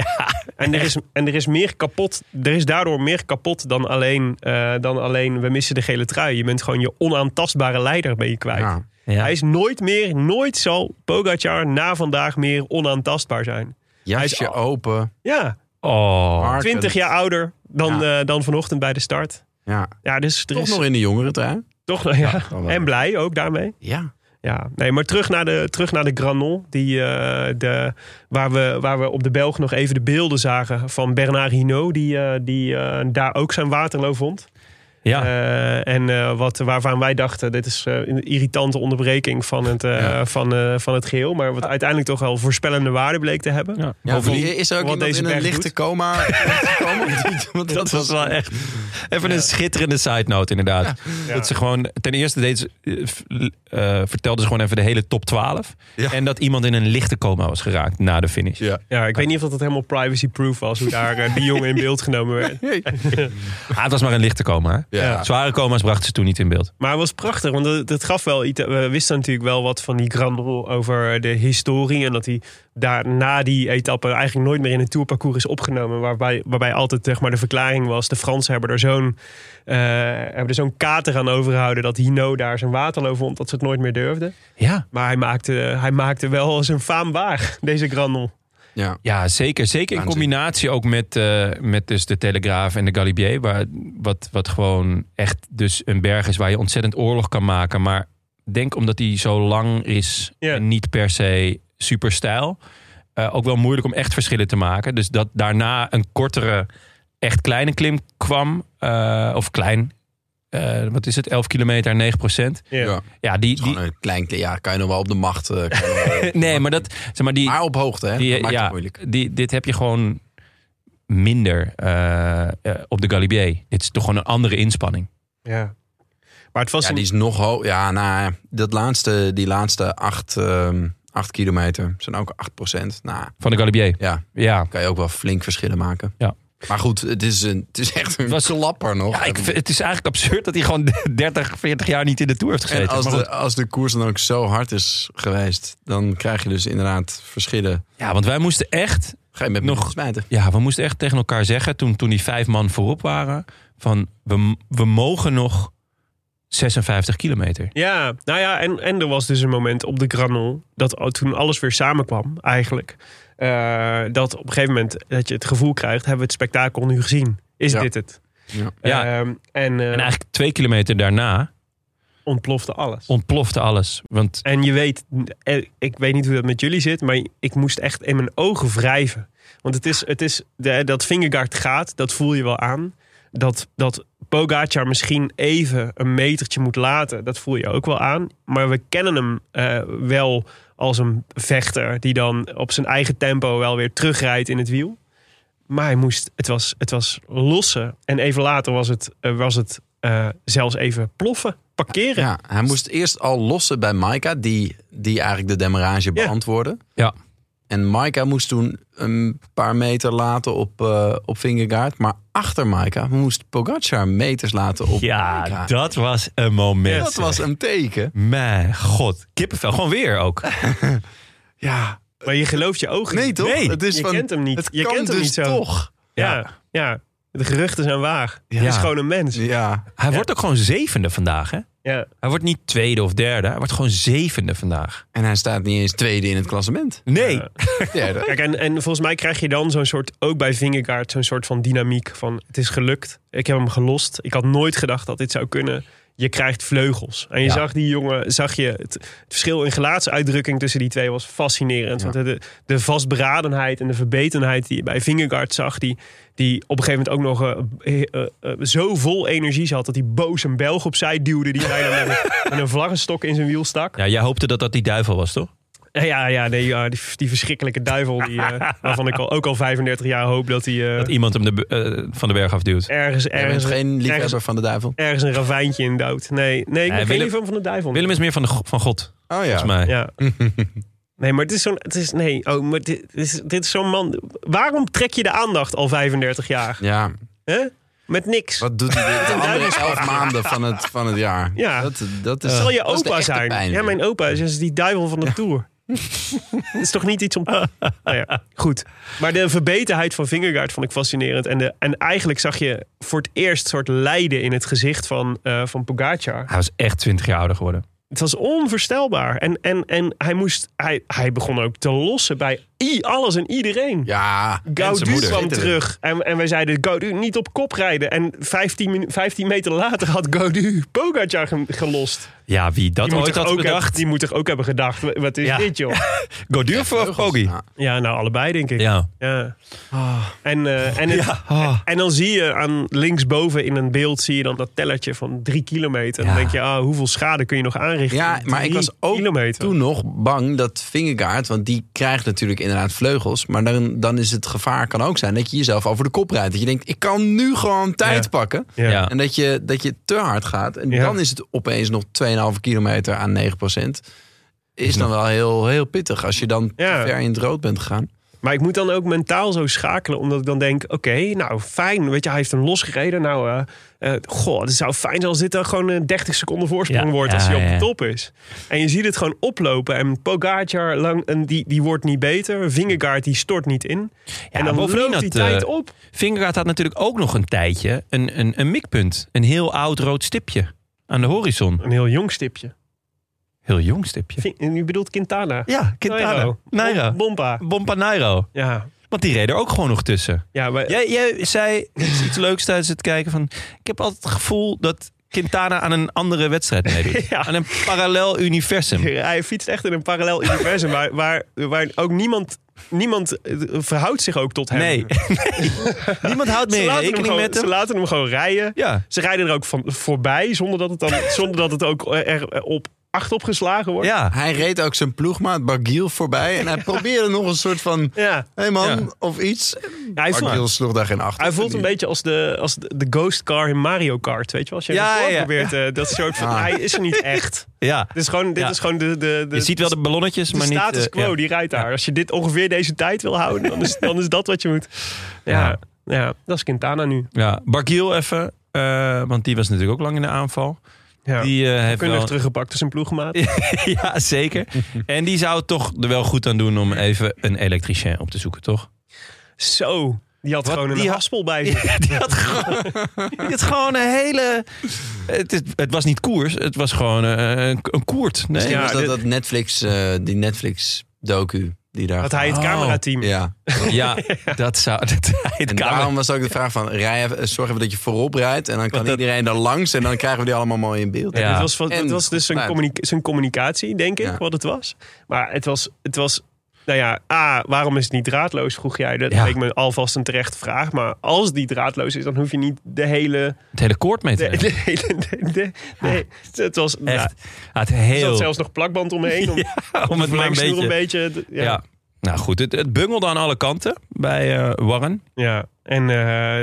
Speaker 2: en, er is, en er is meer kapot... Er is daardoor meer kapot dan alleen, eh, dan alleen... We missen de gele trui. Je bent gewoon je onaantastbare leider ben je kwijt.
Speaker 6: ja.
Speaker 1: Ja.
Speaker 2: Hij is nooit meer... Nooit zal Pogacar na vandaag meer onaantastbaar zijn.
Speaker 6: jasje
Speaker 2: Hij is
Speaker 6: open.
Speaker 2: Ja,
Speaker 1: Oh,
Speaker 6: harkend.
Speaker 2: 20 jaar ouder dan,
Speaker 6: Ja.
Speaker 2: eh, dan vanochtend bij de start.
Speaker 6: Ja.
Speaker 2: Ja, dus er
Speaker 6: Toch
Speaker 2: is
Speaker 6: nog in de jongere trui.
Speaker 2: toch... nog- Ja.
Speaker 6: dan wel.
Speaker 2: En blij ook daarmee.
Speaker 6: Ja.
Speaker 2: Ja, nee, maar terug naar de, terug naar de Granon. Die, eh, de, waar, we, waar we op de Belg nog even de beelden zagen van Bernard Hinault. Die, eh, die eh, daar ook zijn Waterloo vond.
Speaker 1: ja.
Speaker 2: Eh, en eh, wat, waarvan wij dachten, dit is eh, een irritante onderbreking van het, eh, van, eh, van het geheel. Maar wat uiteindelijk toch wel voorspellende waarde bleek te hebben.
Speaker 1: ja.
Speaker 6: Ja,
Speaker 1: Bovendien-
Speaker 6: is er ook
Speaker 2: wat
Speaker 6: iemand
Speaker 2: deze
Speaker 6: in een
Speaker 2: berg
Speaker 6: lichte
Speaker 2: doet.
Speaker 6: coma gekomen? Want
Speaker 1: Dat was wel echt. Even een schitterende side note, inderdaad. Dat ze gewoon. Ten eerste deed ze, eh, v- eh, vertelde ze gewoon even de hele top 12.
Speaker 6: Ja.
Speaker 1: En dat iemand in een lichte coma was geraakt na de finish.
Speaker 6: Ja.
Speaker 2: Ja, ik weet niet of dat het helemaal privacy-proof was. Hoe daar eh, die jongen in beeld genomen werd.
Speaker 1: Ah, het was maar een lichte coma. hè?
Speaker 6: Ja.
Speaker 1: Zware coma's brachten ze toen niet in beeld.
Speaker 2: Maar het was prachtig, want het, het gaf wel iets. We wisten natuurlijk wel wat van die Grand Rol over de historie. En dat hij daar na die etappe eigenlijk nooit meer in een tourparcours is opgenomen. Waarbij, waarbij altijd zeg maar, de verklaring was: de Fransen hebben er zo'n eh, hebben er zo'n kater aan overgehouden. dat Hino daar zijn Waterloo vond, dat ze het nooit meer durfden.
Speaker 1: Ja.
Speaker 2: Maar hij maakte, hij maakte wel zijn faam waar, deze Grand Rol.
Speaker 6: Ja.
Speaker 1: Ja, zeker. Zeker in
Speaker 6: Waanzin.
Speaker 1: combinatie ook met, eh, met dus de Telegraaf en de Galibier. Waar, wat, wat gewoon echt dus een berg is waar je ontzettend oorlog kan maken. Maar denk omdat die zo lang is
Speaker 2: Ja.
Speaker 1: en niet per se super stijl. eh, ook wel moeilijk om echt verschillen te maken. Dus dat daarna een kortere, echt kleine klim kwam. eh, of klein. Eh, wat is het? 11 kilometer, 9 procent.
Speaker 2: Ja.
Speaker 6: Ja.
Speaker 1: Ja, die... die
Speaker 6: Gewoon een klein, ja, kan je nog wel op de macht. eh, kan je nog wel-
Speaker 1: nee, maar dat... Zeg maar, die,
Speaker 6: maar op hoogte, hè?
Speaker 1: die-
Speaker 6: dat maakt
Speaker 1: ja,
Speaker 6: het moeilijk.
Speaker 1: Die, dit heb je gewoon minder eh, eh, op de Galibier. Dit is toch gewoon een andere inspanning.
Speaker 2: Ja. Maar het was
Speaker 6: Ja,
Speaker 2: een-
Speaker 6: die is nog hoog. Ja, nou, dat laatste, die laatste acht, ehm, acht kilometer zijn ook 8 procent. Nou,
Speaker 1: Van de Galibier.
Speaker 6: ja,
Speaker 1: Ja.
Speaker 6: kan je ook wel flink verschillen maken.
Speaker 1: Ja.
Speaker 6: Maar goed, het is, een, het is echt een
Speaker 1: was-
Speaker 6: klapper nog.
Speaker 1: ja ik, vind- het is eigenlijk absurd dat hij gewoon 30, 40 jaar niet in de Tour heeft
Speaker 6: en
Speaker 1: gezeten.
Speaker 6: als
Speaker 1: Maar
Speaker 6: de,
Speaker 1: goed.
Speaker 6: als de koers dan ook zo hard is geweest, dan krijg je dus inderdaad verschillen.
Speaker 1: Ja, want wij moesten echt...
Speaker 6: Ga je met
Speaker 1: Nog-
Speaker 6: nog smijten.
Speaker 1: Ja, we moesten echt tegen elkaar zeggen toen, toen die vijf man voorop waren... van we, we mogen nog 56 kilometer.
Speaker 2: Ja, nou ja, en, en er was dus een moment op de Granon dat al- toen alles weer samenkwam, eigenlijk. eh, dat op een gegeven moment dat je het gevoel krijgt, hebben we het spektakel nu gezien? Is
Speaker 6: Ja.
Speaker 2: dit het?
Speaker 6: Ja.
Speaker 1: Ja.
Speaker 2: Ehm, en, eh
Speaker 1: En eigenlijk twee kilometer daarna
Speaker 2: ontplofte alles.
Speaker 1: ontplofte alles. Want
Speaker 2: en je weet, eh, ik weet niet hoe dat met jullie zit, maar ik moest echt in mijn ogen wrijven. Want het is, het is de, dat Vingegaard gaat, dat voel je wel aan. Dat, dat Pogacar misschien even een metertje moet laten, dat voel je ook wel aan. Maar we kennen hem eh, wel als een vechter die dan op zijn eigen tempo wel weer terugrijdt in het wiel. Maar hij moest, het, was, het was lossen. En even later was het, eh, was het eh, zelfs even ploffen, parkeren.
Speaker 6: Ja, hij moest eerst al lossen bij Maika, die, die eigenlijk de demarage
Speaker 2: Ja.
Speaker 6: beantwoordde.
Speaker 1: Ja.
Speaker 6: En Maika moest toen een paar meter laten op, eh op Vingegaard. Maar achter Maika moest Pogacar meters laten op Maika.
Speaker 1: ja, dat was een moment.
Speaker 6: Dat was een teken.
Speaker 1: Mijn god, kippenvel. Gewoon weer ook.
Speaker 6: Ja.
Speaker 2: Maar je gelooft je ogen
Speaker 6: Nee
Speaker 2: niet.
Speaker 6: toch?
Speaker 1: Nee,
Speaker 6: het is
Speaker 2: je
Speaker 6: van,
Speaker 2: kent hem niet.
Speaker 6: Het
Speaker 2: Je
Speaker 6: kan
Speaker 2: kent hem
Speaker 6: dus
Speaker 2: niet zo.
Speaker 6: toch.
Speaker 2: Ja. ja, De geruchten zijn waar. Hij is gewoon een mens.
Speaker 6: Ja.
Speaker 1: Hij wordt ook gewoon zevende vandaag, hè?
Speaker 2: Ja.
Speaker 1: Hij wordt niet tweede of derde. Hij wordt gewoon zevende vandaag.
Speaker 6: En hij staat niet eens tweede in het klassement.
Speaker 1: Nee.
Speaker 2: Ja.
Speaker 6: Derde.
Speaker 2: Kijk, en, en volgens mij krijg je dan zo'n soort, ook bij Vingegaard, zo'n soort van dynamiek van het is gelukt. Ik heb hem gelost. Ik had nooit gedacht dat dit zou kunnen. Je krijgt vleugels. En je
Speaker 1: Ja.
Speaker 2: zag die jongen, zag je het, het verschil in gelaatsuitdrukking tussen die twee was fascinerend.
Speaker 6: Ja.
Speaker 2: Want de, de vastberadenheid en de verbetenheid die je bij Vingegaard zag, die, die op een gegeven moment ook nog eh, eh, eh, zo vol energie zat dat hij boos een Belg opzij duwde die bijna met een, met een vlaggenstok in zijn wiel stak.
Speaker 1: Ja, jij hoopte dat dat die duivel was, toch?
Speaker 2: Eh, Ja, ja nee, ja, die, die verschrikkelijke duivel. Die, eh, waarvan ik al, ook al 35 jaar hoop dat hij eh,
Speaker 1: Dat iemand hem de, bu- eh, van de berg afduwt.
Speaker 2: ergens,
Speaker 6: Hij is
Speaker 2: ergens,
Speaker 6: geen liefhebber
Speaker 2: ergens,
Speaker 6: van de duivel.
Speaker 2: ergens een ravijntje in duwt. Nee, nee ik ben
Speaker 1: Nee,
Speaker 2: geen
Speaker 1: Willem-
Speaker 2: liefhebber van de duivel.
Speaker 1: Willem is meer van, de, go- van God,
Speaker 6: Oh ja.
Speaker 1: volgens mij.
Speaker 2: Ja. Nee, maar het is zo'n... Het is, nee, oh, maar dit, dit is, dit is zo'n man... Waarom trek je de aandacht al 35 jaar?
Speaker 6: Ja.
Speaker 2: Hè? Met niks.
Speaker 6: Wat doet hij de andere elf maanden van het, van het jaar?
Speaker 2: Ja.
Speaker 6: Dat, dat is,
Speaker 2: Het zal je
Speaker 6: Eh, dat is de
Speaker 2: opa
Speaker 6: echte
Speaker 2: zijn.
Speaker 6: pijn.
Speaker 2: ja, mijn opa is dus die duivel van de Tour. Dat is toch niet iets om... Nou ja, goed. Maar de verbeterheid van Vingegaard vond ik fascinerend. En, de, en eigenlijk zag je voor het eerst soort lijden in het gezicht van, eh, van Pogacar.
Speaker 1: Hij was echt 20 jaar ouder geworden.
Speaker 2: Het was onvoorstelbaar. En, en, en hij, moest, hij, hij begon ook te lossen bij i- alles en iedereen.
Speaker 6: Ja, en zijn
Speaker 2: Gaudu
Speaker 6: moeder.
Speaker 2: kwam terug en, en wij zeiden Gaudu niet op kop rijden. En 15, minu- 15 meter later had Gaudu Pogacar ge- gelost.
Speaker 1: Ja, wie dat
Speaker 2: Die moet,
Speaker 1: ooit
Speaker 2: toch
Speaker 1: had
Speaker 2: ook
Speaker 1: bedacht.
Speaker 2: hebben, die moet toch ook hebben gedacht, wa- wat is
Speaker 1: Ja.
Speaker 2: dit joh?
Speaker 1: Go duur voor
Speaker 6: Vleugels.
Speaker 1: Pogi.
Speaker 6: Ja.
Speaker 2: Ja, nou allebei denk ik. Ja.
Speaker 1: Ja.
Speaker 2: En, eh, en, het-
Speaker 1: Ah.
Speaker 2: en dan zie je aan linksboven in een beeld zie je dan dat tellertje van drie kilometer. En
Speaker 1: Ja.
Speaker 2: dan denk je, ah, hoeveel schade kun je nog aanrichten?
Speaker 6: Ja, maar ik
Speaker 2: Drie
Speaker 6: was ook
Speaker 2: kilometer.
Speaker 6: toen nog bang dat Vingegaard, want die krijgt natuurlijk inderdaad vleugels, maar dan, dan is het gevaar kan ook zijn dat je jezelf over de kop rijdt. Dat je denkt, ik kan nu gewoon tijd
Speaker 2: Ja.
Speaker 6: pakken.
Speaker 2: Ja.
Speaker 1: Ja.
Speaker 6: En dat je, dat je te hard gaat. En
Speaker 2: Ja.
Speaker 6: dan is het opeens nog 2,5 kilometer aan 9 Is dan wel heel, heel pittig als je dan
Speaker 2: Ja.
Speaker 6: te ver in het rood bent gegaan.
Speaker 2: Maar ik moet dan ook mentaal zo schakelen, omdat ik dan denk: oké, nou fijn, weet je, hij heeft hem losgereden. Nou, eh, eh, goh, het zou fijn zijn als dit dan gewoon eh, 30 seconden voorsprong
Speaker 1: Ja,
Speaker 2: wordt als
Speaker 1: ja,
Speaker 2: hij op
Speaker 1: ja.
Speaker 2: de top is. En je ziet het gewoon oplopen. En Pogacar, lang, en die, die wordt niet beter. Vingegaard, die stort niet in. en dan
Speaker 1: bovendien
Speaker 2: loopt
Speaker 1: dat,
Speaker 2: die tijd
Speaker 1: eh,
Speaker 2: op.
Speaker 1: Vingegaard had natuurlijk ook nog een tijdje een, een, een mikpunt. Een heel oud rood stipje aan de horizon.
Speaker 2: Een heel jong stipje.
Speaker 1: Heel jong stipje.
Speaker 2: Vind- Je bedoelt Quintana.
Speaker 1: Ja, Quintana.
Speaker 2: Nairo.
Speaker 1: Nairo.
Speaker 2: Bom- Bompa.
Speaker 1: Bompa Nairo.
Speaker 2: Ja,
Speaker 1: Want die reed er ook gewoon nog tussen.
Speaker 2: ja maar
Speaker 1: Jij, jij zei iets, iets leuks tijdens het kijken van... Ik heb altijd het gevoel dat Quintana aan een andere wedstrijd meedoet.
Speaker 2: Ja.
Speaker 1: Aan een parallel universum.
Speaker 2: hij fietst echt in een parallel universum waar, waar, waar ook niemand, niemand eh, verhoudt zich ook tot hem.
Speaker 1: Nee. Niemand houdt
Speaker 2: Ze
Speaker 1: meer
Speaker 2: laten, hem
Speaker 1: rekening
Speaker 2: gewoon,
Speaker 1: met
Speaker 2: ze
Speaker 1: hem.
Speaker 2: laten hem gewoon rijden.
Speaker 1: Ja.
Speaker 2: Ze rijden er ook van, voorbij zonder dat het, dan, zonder dat het ook eh, er, er op acht opgeslagen wordt.
Speaker 1: Ja.
Speaker 6: Hij reed ook zijn ploegmaat Bargiel voorbij. En hij probeerde nog een soort van...
Speaker 2: Ja.
Speaker 6: Hé hey man,
Speaker 1: Ja.
Speaker 6: of iets.
Speaker 2: Hij voelt,
Speaker 6: Bargiel sloeg daar geen acht.
Speaker 2: hij voelt een beetje als de, als de, de ghost car in Mario Kart. Weet je wel? Als je
Speaker 1: Ja,
Speaker 2: ervoor
Speaker 1: ja, ja.
Speaker 2: probeert, eh, dat soort van...
Speaker 6: Ah.
Speaker 2: Hij is er niet echt.
Speaker 1: ja.
Speaker 2: Dit is gewoon, dit
Speaker 1: Ja.
Speaker 2: is gewoon de, de, de,
Speaker 1: Je ziet wel de ballonnetjes,
Speaker 2: de
Speaker 1: maar niet...
Speaker 2: status
Speaker 1: eh,
Speaker 2: quo.
Speaker 1: ja.
Speaker 2: Die rijdt daar. Als je dit ongeveer deze tijd wil houden, dan is, dan is dat wat je moet. Ja, ja, dat is Quintana nu.
Speaker 1: Ja, Bargiel even. eh, want die was natuurlijk ook lang in de aanval.
Speaker 2: Ja.
Speaker 1: Die eh, heeft
Speaker 2: Kundig
Speaker 1: wel...
Speaker 2: teruggepakt door zijn ploegmaat.
Speaker 1: ja, zeker. En die zou het toch er wel goed aan doen om even een elektricien op te zoeken, toch?
Speaker 2: Zo. Die had gewoon een
Speaker 1: die ha-
Speaker 2: haspel bij zich.
Speaker 1: die had gewoon, die had gewoon een hele... Het, is- het was niet koers, het was gewoon eh, een, een koert. Nee.
Speaker 6: Misschien
Speaker 2: Ja,
Speaker 6: was dat,
Speaker 2: dit-
Speaker 6: dat Netflix, eh, die Netflix-docu die daar...
Speaker 2: Had hij het
Speaker 1: Oh.
Speaker 2: camerateam.
Speaker 6: Ja.
Speaker 1: Ja, dat zou... Dat, het kan
Speaker 6: En daarom was ook de vraag van, rij even, eh, zorg even dat je voorop rijdt. En dan kan
Speaker 1: Want dat-
Speaker 6: iedereen daar langs en dan krijgen we die allemaal mooi in beeld.
Speaker 1: Ja.
Speaker 2: Het was, van-
Speaker 6: En
Speaker 2: het was dus zijn,
Speaker 6: geluid.
Speaker 2: communi- zijn communicatie, denk ik,
Speaker 6: Ja.
Speaker 2: wat het was. Maar het was, het was, nou ja, A, waarom is het niet draadloos, vroeg jij. Dat
Speaker 1: Ja.
Speaker 2: leek me alvast een terechte vraag. Maar als die draadloos is, dan hoef je niet de hele...
Speaker 1: het hele koord mee te
Speaker 2: De,
Speaker 1: nemen.
Speaker 2: de hele de- de- nee, het was... nou,
Speaker 1: Echt. Ja, het
Speaker 2: er zat
Speaker 1: heel...
Speaker 2: zelfs nog plakband omheen. Om,
Speaker 1: om het maar een
Speaker 2: verlengsnoer
Speaker 1: beetje...
Speaker 2: een beetje... d-
Speaker 1: ja.
Speaker 2: ja. Ja.
Speaker 1: Nou goed, het, het bungelde aan alle kanten bij eh, Warren.
Speaker 2: En eh,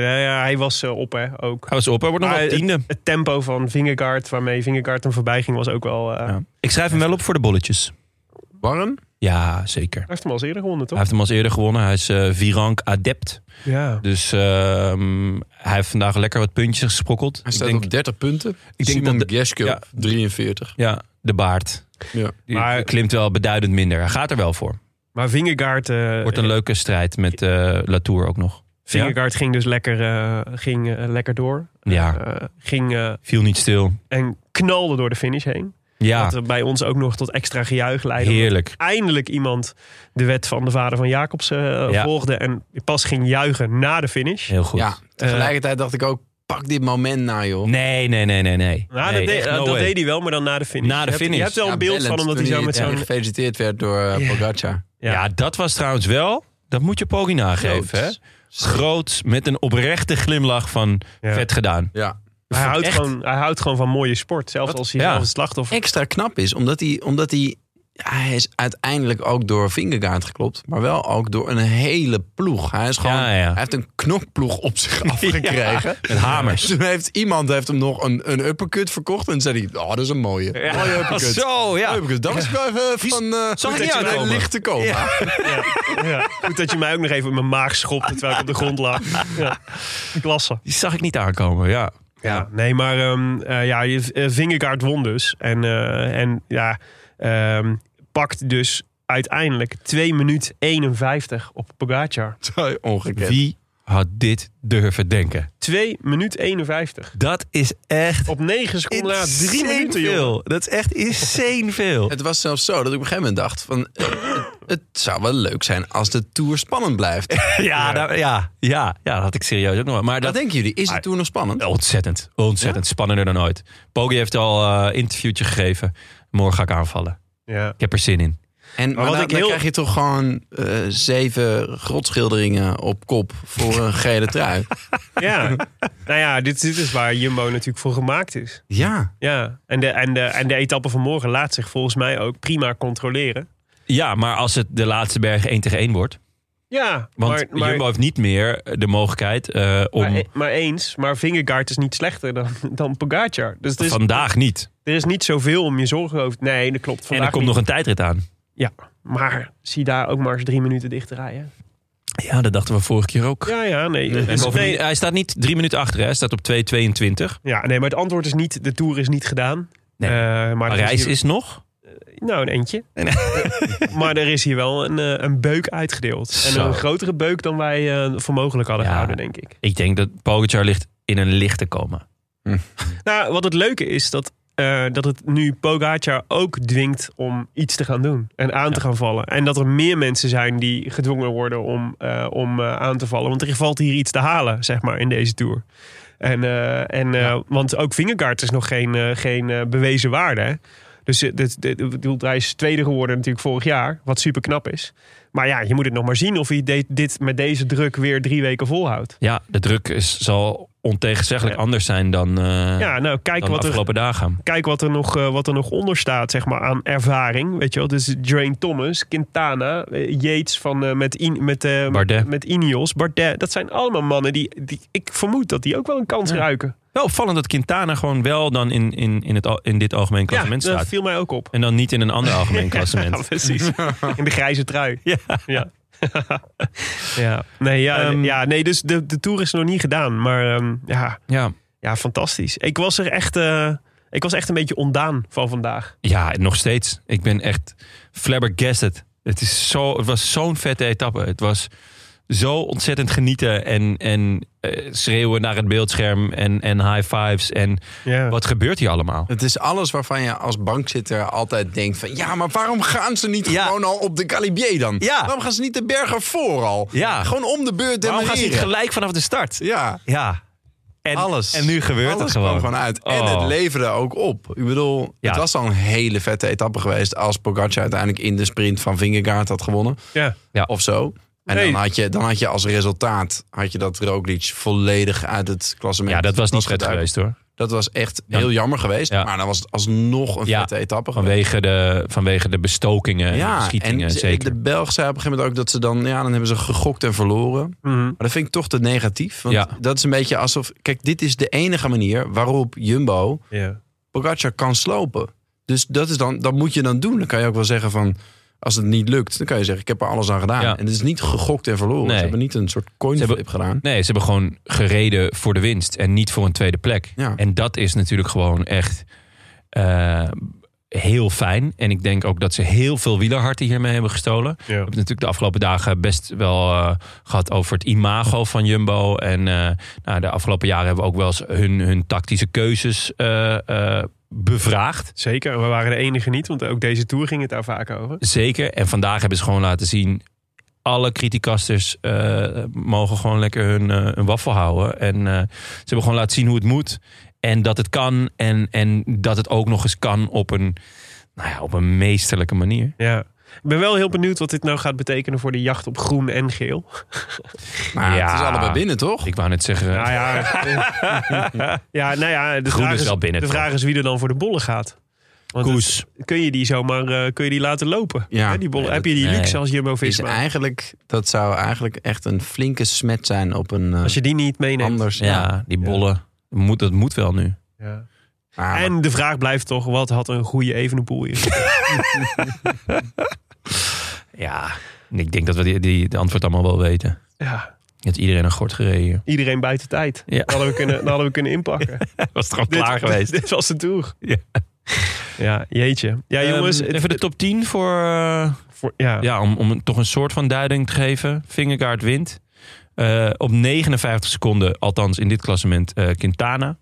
Speaker 2: ja, ja, hij was eh, op, hè, ook.
Speaker 1: Hij was op, hij wordt nog
Speaker 2: Maar
Speaker 1: wel
Speaker 2: het-
Speaker 1: tiende.
Speaker 2: Het tempo van Vingegaard, waarmee Vingegaard hem voorbij ging, was ook wel... eh, Hij
Speaker 1: Ja. Ik schrijf hem wel op voor de bolletjes.
Speaker 6: Warm?
Speaker 1: Ja, zeker.
Speaker 2: heeft hem al eens eerder gewonnen,
Speaker 1: Hij
Speaker 2: toch?
Speaker 1: heeft hem als eerder gewonnen. Hij is eh virank adept.
Speaker 2: Ja.
Speaker 1: Dus ehm, hij heeft vandaag lekker wat puntjes gesprokkeld.
Speaker 6: Hij
Speaker 1: Ik
Speaker 6: staat
Speaker 1: denk,
Speaker 6: op 30 punten.
Speaker 1: denk
Speaker 6: Simon
Speaker 1: dat de-
Speaker 6: Geschke
Speaker 1: ja.
Speaker 6: 43.
Speaker 1: ja, de baard.
Speaker 6: Ja.
Speaker 1: Die
Speaker 2: Maar-
Speaker 1: klimt wel beduidend minder. Hij gaat er wel voor.
Speaker 2: Maar Vingegaard, eh,
Speaker 1: Wordt een leuke strijd met eh, Latour ook nog.
Speaker 2: Vingegaard ging dus lekker, eh, ging, eh, lekker door.
Speaker 1: Ja,
Speaker 2: Eh, ging eh,
Speaker 1: viel niet stil.
Speaker 2: en knalde door de finish heen.
Speaker 1: Ja,
Speaker 2: Wat er bij ons ook nog tot extra gejuich leidde. omdat
Speaker 1: Ah. heerlijk.
Speaker 2: Eindelijk iemand de wet van de vader van Jacobs eh,
Speaker 1: Ja.
Speaker 2: volgde. En pas ging juichen na de finish.
Speaker 1: Heel goed.
Speaker 6: Ja, tegelijkertijd dacht ik ook, pak dit moment na joh.
Speaker 1: Nee, nee, nee, nee, nee.
Speaker 2: Nou,
Speaker 1: Nee,
Speaker 2: dat deed,
Speaker 1: echt no
Speaker 2: dat
Speaker 1: way.
Speaker 2: deed hij wel, maar dan na de finish.
Speaker 1: Na de
Speaker 2: Je hebt-
Speaker 1: finish.
Speaker 2: Je hebt wel
Speaker 6: Ja,
Speaker 2: een beeld
Speaker 6: bellend
Speaker 2: van hem dat
Speaker 6: toen
Speaker 2: hij zo met
Speaker 6: eh,
Speaker 2: zo'n...
Speaker 6: gefeliciteerd werd door eh, Pogacar.
Speaker 1: Ja. dat was trouwens wel... Dat moet je Poggi nageven, hè?
Speaker 6: Groots.
Speaker 1: Groot, met een oprechte glimlach van
Speaker 2: Ja.
Speaker 1: vet gedaan.
Speaker 6: Ja.
Speaker 2: Hij houdt,
Speaker 1: Echt?
Speaker 2: gewoon, hij houdt gewoon van mooie sport. Zelfs als hij
Speaker 1: Ja.
Speaker 2: zelf het slachtoffer...
Speaker 6: Extra knap is, omdat hij... Omdat hij hij is uiteindelijk ook door Vingegaard geklopt. Maar wel ook door een hele ploeg. Hij, is gewoon,
Speaker 1: Ja, ja.
Speaker 6: hij heeft een knokploeg op zich afgekregen.
Speaker 1: Met hamers.
Speaker 6: Toen heeft iemand heeft hem nog een, een uppercut verkocht. En zei hij, oh, dat is een mooie. Mooie uppercut.
Speaker 1: Zo, ja.
Speaker 6: Uppercut. Dat is wel even van... eh
Speaker 1: Zag ik niet
Speaker 6: dat je
Speaker 1: aankomen.
Speaker 6: bij lichte komen.
Speaker 2: Ja. Goed dat je mij ook nog even in mijn maag schopte terwijl ik op de grond lag. Ja. Klasse.
Speaker 1: Die zag ik niet aankomen, ja.
Speaker 2: Ja, nee, maar ehm eh, ja, je- eh, Vingegaard won dus. En, eh, en ja, ehm, pakt dus uiteindelijk 2 minuut 51 op Pogacar.
Speaker 6: Zo, Ongekend.
Speaker 1: Wie had dit durven denken?
Speaker 2: 2 minuut 51.
Speaker 1: Dat is echt
Speaker 2: Op 9 seconden na 3
Speaker 1: insane
Speaker 2: minuten, joh.
Speaker 1: veel. Dat is echt insane veel.
Speaker 6: Het was zelfs zo dat ik op een gegeven moment dacht... Van, eh, het, het zou wel leuk zijn als de Tour spannend blijft.
Speaker 1: Ja, nou, ja, ja, ja, dat had ik serieus ook nog. wel. Maar
Speaker 6: Wat
Speaker 1: dat
Speaker 6: denken jullie? Is de Tour nog spannend?
Speaker 1: ontzettend, ontzettend spannender dan ooit. Poggi heeft al eh, een interviewtje gegeven. Morgen ga ik aanvallen.
Speaker 2: Ja.
Speaker 1: Ik heb er zin in.
Speaker 6: En maar
Speaker 2: wat
Speaker 6: dan,
Speaker 2: ik
Speaker 6: dan
Speaker 2: heel-
Speaker 6: krijg je toch gewoon eh, zeven grotschilderingen op kop voor een gele trui.
Speaker 2: ja. Nou ja, dit, dit is waar Jumbo natuurlijk voor gemaakt is.
Speaker 6: Ja.
Speaker 2: Ja. En de, en, de, en de etappe van morgen laat zich volgens mij ook prima controleren.
Speaker 1: Ja, maar als het de laatste berg één tegen één wordt.
Speaker 2: Ja,
Speaker 1: Want
Speaker 2: maar, maar,
Speaker 1: Jumbo heeft niet meer de mogelijkheid eh, om...
Speaker 2: maar, e- maar eens. Maar Vingegaard is niet slechter dan, dan Pogacar. Dus het is
Speaker 1: vandaag niet.
Speaker 2: Er is niet zoveel om je zorgen over. Nee, dat klopt.
Speaker 1: En er
Speaker 2: Vandaag
Speaker 1: komt nog
Speaker 2: niet.
Speaker 1: een tijdrit aan.
Speaker 2: Ja, maar zie daar ook maar eens drie minuten dicht rijden.
Speaker 1: Ja, dat dachten we vorige keer ook.
Speaker 2: Ja, ja, nee.
Speaker 1: En
Speaker 2: Dus-
Speaker 1: bovendien,
Speaker 2: nee,
Speaker 1: Hij staat niet drie minuten achter, hè. hij staat op 2,22.
Speaker 2: ja, nee, maar het antwoord is niet: de tour is niet gedaan.
Speaker 1: Nee.
Speaker 2: Eh, maar er
Speaker 1: Parijs
Speaker 2: hier-
Speaker 1: is nog.
Speaker 2: Nou, een eentje. maar er is hier wel een, eh, een beuk uitgedeeld. En
Speaker 1: Zo.
Speaker 2: een grotere beuk dan wij eh, voor mogelijk hadden
Speaker 1: Ja.
Speaker 2: gehouden, denk ik.
Speaker 1: Ik denk dat Pogacar ligt in een lichte coma.
Speaker 2: Nou, wat het leuke is, dat eh, dat het nu Pogacar ook dwingt om iets te gaan doen en aan te gaan vallen. En dat er meer mensen zijn die gedwongen worden om, eh, om eh, aan te vallen. Want er valt hier iets te halen, zeg maar, in deze Tour. En, eh, en, eh, Want ook Vingegaard is nog geen, eh, geen eh, bewezen waarde. Hè? Dus eh, dit, dit, ik bedoel, hij is tweede geworden natuurlijk vorig jaar, wat super knap is. Maar ja, je moet het nog maar zien of hij de- dit met deze druk weer drie weken volhoudt.
Speaker 1: Ja, de druk is, zal ontegenzeggelijk
Speaker 2: Ja.
Speaker 1: anders zijn dan, eh,
Speaker 2: Ja, nou, kijk
Speaker 1: dan de
Speaker 2: wat er,
Speaker 1: afgelopen dagen.
Speaker 2: kijk wat er nog, eh, wat er nog onder staat, zeg maar, aan ervaring. Weet je wel, dus Drain Thomas, Quintana, eh, Yates van, eh, met, In- met, eh,
Speaker 1: Bardet.
Speaker 2: met Ineos, Bardet. Dat zijn allemaal mannen die, die ik vermoed dat die ook wel een kans
Speaker 1: Ja.
Speaker 2: ruiken.
Speaker 1: Wel opvallend dat Quintana gewoon wel dan in, in, in, het, al- in dit algemeen
Speaker 2: Ja,
Speaker 1: klassement
Speaker 2: dat
Speaker 1: staat.
Speaker 2: viel mij ook op.
Speaker 1: En dan niet in een ander algemeen
Speaker 2: Ja,
Speaker 1: klassement.
Speaker 2: precies. In de grijze trui.
Speaker 1: Ja.
Speaker 2: Ja. ja. Nee, ja,
Speaker 1: Ehm.
Speaker 2: ja, nee, dus de, de tour is nog niet gedaan. Maar ehm, ja,
Speaker 1: Ja.
Speaker 2: ja, fantastisch. Ik was er echt, eh, ik was echt een beetje ontdaan van vandaag.
Speaker 1: Ja, nog steeds. Ik ben echt flabbergasted. Het, is zo, het was zo'n vette etappe. Het was zo ontzettend genieten en, en eh, schreeuwen naar het beeldscherm en, en high fives. En
Speaker 2: Ja.
Speaker 1: wat gebeurt hier allemaal?
Speaker 6: Het is alles waarvan je als bankzitter altijd denkt van... ja, maar waarom gaan ze niet
Speaker 1: Ja.
Speaker 6: gewoon al op de Calibier dan?
Speaker 1: Ja.
Speaker 6: Waarom gaan ze niet de bergen voor al?
Speaker 1: Ja.
Speaker 6: Gewoon om de beurt
Speaker 1: Waarom gaan ze niet
Speaker 6: demareren?
Speaker 1: gelijk vanaf de start?
Speaker 6: Ja,
Speaker 1: Ja. En,
Speaker 6: alles.
Speaker 1: En nu gebeurt
Speaker 6: alles
Speaker 1: het gewoon.
Speaker 6: kwam gewoon uit. En
Speaker 1: Oh.
Speaker 6: het leverde ook op. Ik bedoel,
Speaker 1: Ja.
Speaker 6: het was al een hele vette etappe geweest... als Pogacar uiteindelijk in de sprint van Vingegaard had gewonnen.
Speaker 2: Ja.
Speaker 6: Of zo. En
Speaker 2: Nee.
Speaker 6: dan, had je, dan had je als resultaat... had je dat Roglic volledig uit het klassement...
Speaker 1: Ja, dat was niet vet
Speaker 6: geduikeld.
Speaker 1: geweest hoor.
Speaker 6: Dat was echt
Speaker 1: Ja.
Speaker 6: heel jammer geweest.
Speaker 1: Ja.
Speaker 6: Maar dan was het alsnog een
Speaker 1: Ja.
Speaker 6: vette etappe geweest.
Speaker 1: Vanwege de, vanwege de bestokingen en de beschietingen
Speaker 6: ze-
Speaker 1: zeker.
Speaker 6: de Belg zei op een gegeven moment ook dat ze dan... Ja, dan hebben ze gegokt en verloren. Maar
Speaker 2: Mhm.
Speaker 6: dat vind ik toch te negatief. Want
Speaker 1: Ja.
Speaker 6: dat is een beetje alsof... Kijk, dit is de enige manier waarop Jumbo
Speaker 2: Ja.
Speaker 6: Pogacar kan slopen. Dus dat, is dan, dat moet je dan doen. Dan kan je ook wel zeggen van... Als het niet lukt, dan kan je zeggen, ik heb er alles aan gedaan.
Speaker 1: Ja.
Speaker 6: En het is niet gegokt en verloren.
Speaker 1: Nee.
Speaker 6: Ze hebben niet een soort
Speaker 1: Ze
Speaker 6: coinflip
Speaker 1: hebben-
Speaker 6: gedaan.
Speaker 1: Nee, ze hebben gewoon gereden voor de winst en niet voor een tweede plek.
Speaker 6: Ja.
Speaker 1: En dat is natuurlijk gewoon echt eh, heel fijn. En ik denk ook dat ze heel veel wielerharten hiermee hebben gestolen. We
Speaker 2: Ja.
Speaker 1: hebben natuurlijk de afgelopen dagen best wel eh, gehad over het imago van Jumbo. En eh, nou, de afgelopen jaren hebben we ook wel eens hun, hun tactische keuzes eh, eh, bevraagd.
Speaker 2: Zeker, we waren de enige niet, want ook deze tour ging het daar vaak over.
Speaker 1: Zeker. En vandaag hebben ze gewoon laten zien. Alle criticasters eh, mogen gewoon lekker hun, eh, hun waffel houden. En eh, ze hebben gewoon laten zien hoe het moet. En dat het kan. En, en dat het ook nog eens kan op een, nou ja, op een meesterlijke manier.
Speaker 2: Ja. Ik ben wel heel benieuwd wat dit nou gaat betekenen voor de jacht op groen en geel.
Speaker 6: Maar
Speaker 1: Ja.
Speaker 6: het is allebei binnen, toch?
Speaker 1: Ik wou net zeggen.
Speaker 2: Nou ja, eh, ja, nou ja de,
Speaker 1: Groen
Speaker 2: vraag
Speaker 1: is
Speaker 2: is,
Speaker 1: wel binnen,
Speaker 2: de vraag
Speaker 1: toch?
Speaker 2: is wie er dan voor de bollen gaat. Want het-
Speaker 1: Koes.
Speaker 2: kun je die zomaar eh, kun je die laten lopen?
Speaker 6: Ja.
Speaker 2: Hè, die bollen,
Speaker 6: Nee,
Speaker 2: heb je die
Speaker 1: nee.
Speaker 2: luxe als Jumbo
Speaker 6: Is
Speaker 2: Visma?
Speaker 6: eigenlijk, dat zou eigenlijk echt een flinke smet zijn op een eh,
Speaker 2: Als je die niet meeneemt.
Speaker 6: anders.
Speaker 1: Ja, die bollen. Moet, dat moet wel nu.
Speaker 2: Ja.
Speaker 6: Maar- maar
Speaker 2: En de vraag blijft toch, wat had een goede Evenepoel hier?
Speaker 1: Ja. Ik denk dat we die, die de antwoord allemaal wel weten.
Speaker 2: ja,
Speaker 1: Dat iedereen een gort gereden. hier.
Speaker 2: iedereen buiten tijd.
Speaker 1: Ja.
Speaker 2: Dan, hadden we kunnen, dan hadden we kunnen inpakken.
Speaker 1: Was het gewoon
Speaker 2: Dit-
Speaker 1: klaar geweest.
Speaker 2: Dit, was de tour.
Speaker 1: Ja.
Speaker 2: Ja, jeetje. Ja, jongens.
Speaker 1: Ehm,
Speaker 2: het-
Speaker 1: even de top 10 voor. eh,
Speaker 2: voor- ja.
Speaker 1: Ja, om, om een- toch een soort van duiding te geven. Vingegaard wint. Eh, op 59 seconden, althans in dit klassement, eh, Quintana.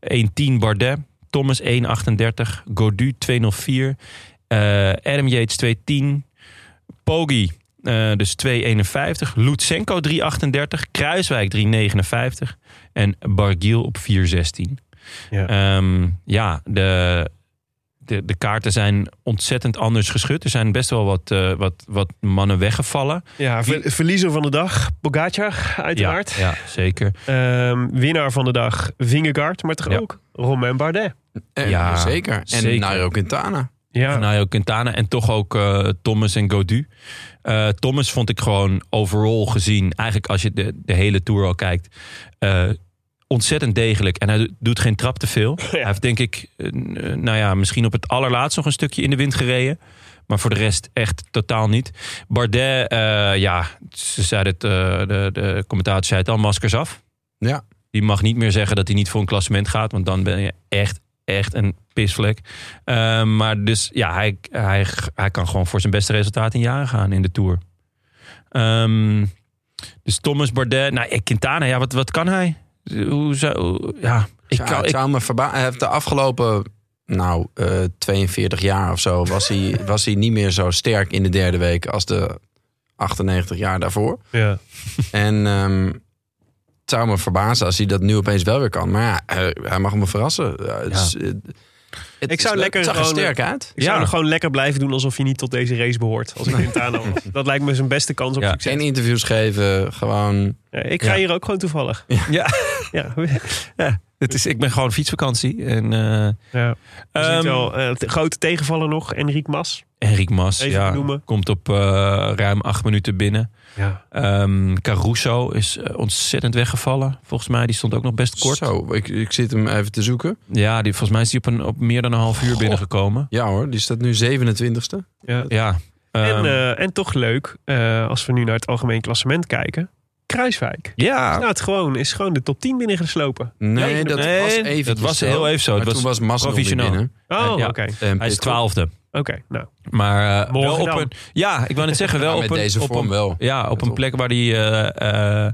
Speaker 1: 1.10 Bardet. Thomas 1.38. Godu 2.04. eh Adam Yates 2.10. Poggi eh, dus 2.51. Lutsenko 3.38. Kruiswijk 3.59. En Bargiel op 4.16.
Speaker 2: Ja.
Speaker 1: Ehm, ja, de, de, de kaarten zijn ontzettend anders geschud. Er zijn best wel wat, eh, wat, wat mannen weggevallen.
Speaker 2: Ja, ver- verliezer van de dag, Pogacar, uiteraard.
Speaker 1: Ja, ja, zeker.
Speaker 2: Ehm, winnaar van de dag, Vingegaard, maar toch
Speaker 1: Ja.
Speaker 2: ook Romain Bardet.
Speaker 6: En-
Speaker 1: Ja,
Speaker 6: eh, zeker. En
Speaker 1: zeker.
Speaker 6: Nairo Quintana.
Speaker 2: Ja,
Speaker 1: Nairo Quintana en toch ook eh, Thomas en Godu. Eh, Thomas vond ik gewoon overal gezien, eigenlijk als je de, de hele tour al kijkt, eh, ontzettend degelijk. En hij do- doet geen trap te veel. Hij heeft denk ik, eh, n- nou ja, misschien op het allerlaatst nog een stukje in de wind gereden. Maar voor de rest echt totaal niet. Bardet, eh, ja, ze zeiden het, eh, de, de commentator zei het al, maskers af.
Speaker 6: Ja.
Speaker 1: Die mag niet meer zeggen dat hij niet voor een klassement gaat. Want dan ben je echt, echt een pisvlek. Eh, maar dus ja, hij, hij, hij kan gewoon voor zijn beste resultaat in jaren gaan in de Tour. Ehm, dus Thomas Bardet, nou, eh, Quintana, ja, wat, wat kan hij? Hoe zou, ja, ik
Speaker 6: Ik
Speaker 1: kan,
Speaker 6: het
Speaker 1: ik-
Speaker 6: zou me verbazen. Hij heeft de eh, afgelopen nou, eh, 42 jaar of zo, was hij, was hij niet meer zo sterk in de derde week als de 98 jaar daarvoor.
Speaker 2: Ja.
Speaker 6: En ehm, het zou me verbazen als hij dat nu opeens wel weer kan. Maar ja, hij, hij mag me verrassen. Ja, het is, eh, het
Speaker 2: Ik
Speaker 6: is
Speaker 2: zou
Speaker 6: leuk.
Speaker 2: lekker
Speaker 6: het zag er
Speaker 2: gewoon-
Speaker 6: sterk uit.
Speaker 2: Ik zou
Speaker 1: Ja.
Speaker 2: hem gewoon lekker blijven doen alsof je niet tot deze race behoort. Als ik Quintana was. Dat lijkt me zijn beste kans op
Speaker 1: Ja.
Speaker 2: succes.
Speaker 6: Geen interviews geven, gewoon...
Speaker 2: Ja, ik ga
Speaker 1: Ja.
Speaker 2: hier ook gewoon toevallig.
Speaker 1: Ja.
Speaker 2: Ja.
Speaker 1: Het is, ik ben gewoon fietsvakantie. En eh,
Speaker 2: ja. Er zit
Speaker 1: Ehm,
Speaker 2: wel, eh, te- grote tegenvaller nog, Enrique Mas.
Speaker 1: Henrik Mas
Speaker 2: Even
Speaker 1: ja,
Speaker 2: benoemen.
Speaker 1: komt op eh, ruim acht minuten binnen.
Speaker 2: Ja.
Speaker 1: Ehm, Caruso is eh, ontzettend weggevallen. Volgens mij, die stond ook nog best kort.
Speaker 6: Zo, ik, ik zit hem even te zoeken.
Speaker 1: Ja, die, volgens mij is die op, een, op meer dan een half uur binnengekomen.
Speaker 6: Ja hoor, die staat nu 27ste.
Speaker 1: Ja.
Speaker 2: En,
Speaker 1: ehm,
Speaker 2: eh, en toch leuk, eh, als we nu naar het algemeen klassement kijken. Kruiswijk.
Speaker 1: ja.
Speaker 2: Nou, het gewoon, is gewoon de top 10 binnengeslopen.
Speaker 6: Nee,
Speaker 1: Nee,
Speaker 6: dat
Speaker 1: nee,
Speaker 6: was
Speaker 1: dat
Speaker 6: even
Speaker 1: was heel even zo.
Speaker 6: Maar
Speaker 1: Het was
Speaker 6: toen was Mas nog weer
Speaker 1: provisionaal.
Speaker 6: binnen. Eh,
Speaker 2: Oh,
Speaker 1: Ja.
Speaker 2: oké. Oké,
Speaker 6: En
Speaker 1: Hij is
Speaker 6: Pitcock.
Speaker 1: twaalfde.
Speaker 2: nou.
Speaker 1: Maar eh, wel
Speaker 2: Morgen
Speaker 1: op
Speaker 2: dan.
Speaker 1: een, ja, ik wou net zeggen, wel
Speaker 6: Ja,
Speaker 1: op
Speaker 6: met
Speaker 1: een,
Speaker 6: deze
Speaker 1: op
Speaker 6: vorm
Speaker 1: een,
Speaker 6: wel.
Speaker 1: Ja, op
Speaker 6: Let
Speaker 1: een
Speaker 6: op.
Speaker 1: plek waar die, eh, eh,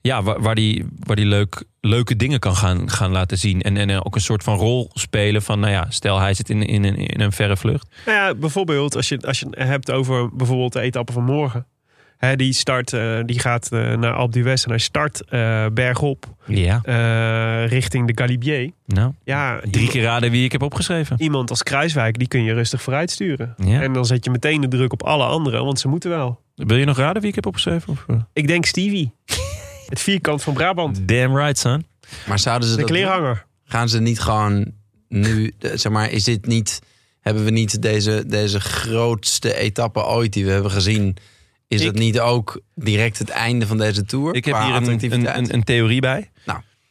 Speaker 1: ja, waar, waar die, waar die leuk, leuke dingen kan gaan, gaan laten zien. En, en eh, ook een soort van rol spelen van, nou ja, stel hij zit in, in, een- in een verre vlucht.
Speaker 2: Nou ja, bijvoorbeeld als je, als je het hebt over bijvoorbeeld de etappe van morgen. Hè, die start, eh, die gaat eh, naar Alpe d'Huez en hij start eh, bergop
Speaker 1: Ja,
Speaker 2: eh, richting de Galibier.
Speaker 1: nou,
Speaker 2: Ja,
Speaker 1: drie
Speaker 2: iemand-
Speaker 1: keer raden wie ik heb opgeschreven.
Speaker 2: Iemand als Kruiswijk, die kun je rustig vooruitsturen.
Speaker 1: Ja.
Speaker 2: En dan zet je meteen de druk op alle anderen, want ze moeten wel.
Speaker 1: Wil je nog raden wie ik heb opgeschreven? Of, eh?
Speaker 2: Ik denk Stevie. het vierkant van Brabant.
Speaker 1: Damn right, son.
Speaker 6: Maar zouden ze
Speaker 2: De
Speaker 6: dat
Speaker 2: kleerhanger.
Speaker 6: gaan ze niet gewoon nu, eh, zeg maar, is dit niet, hebben we niet deze, deze grootste etappe ooit die we hebben gezien, is
Speaker 2: Ik-
Speaker 6: dat niet ook direct het einde van deze tour?
Speaker 1: Ik heb
Speaker 6: qua
Speaker 1: hier een,
Speaker 6: attractiviteit?
Speaker 1: een, een, een theorie bij.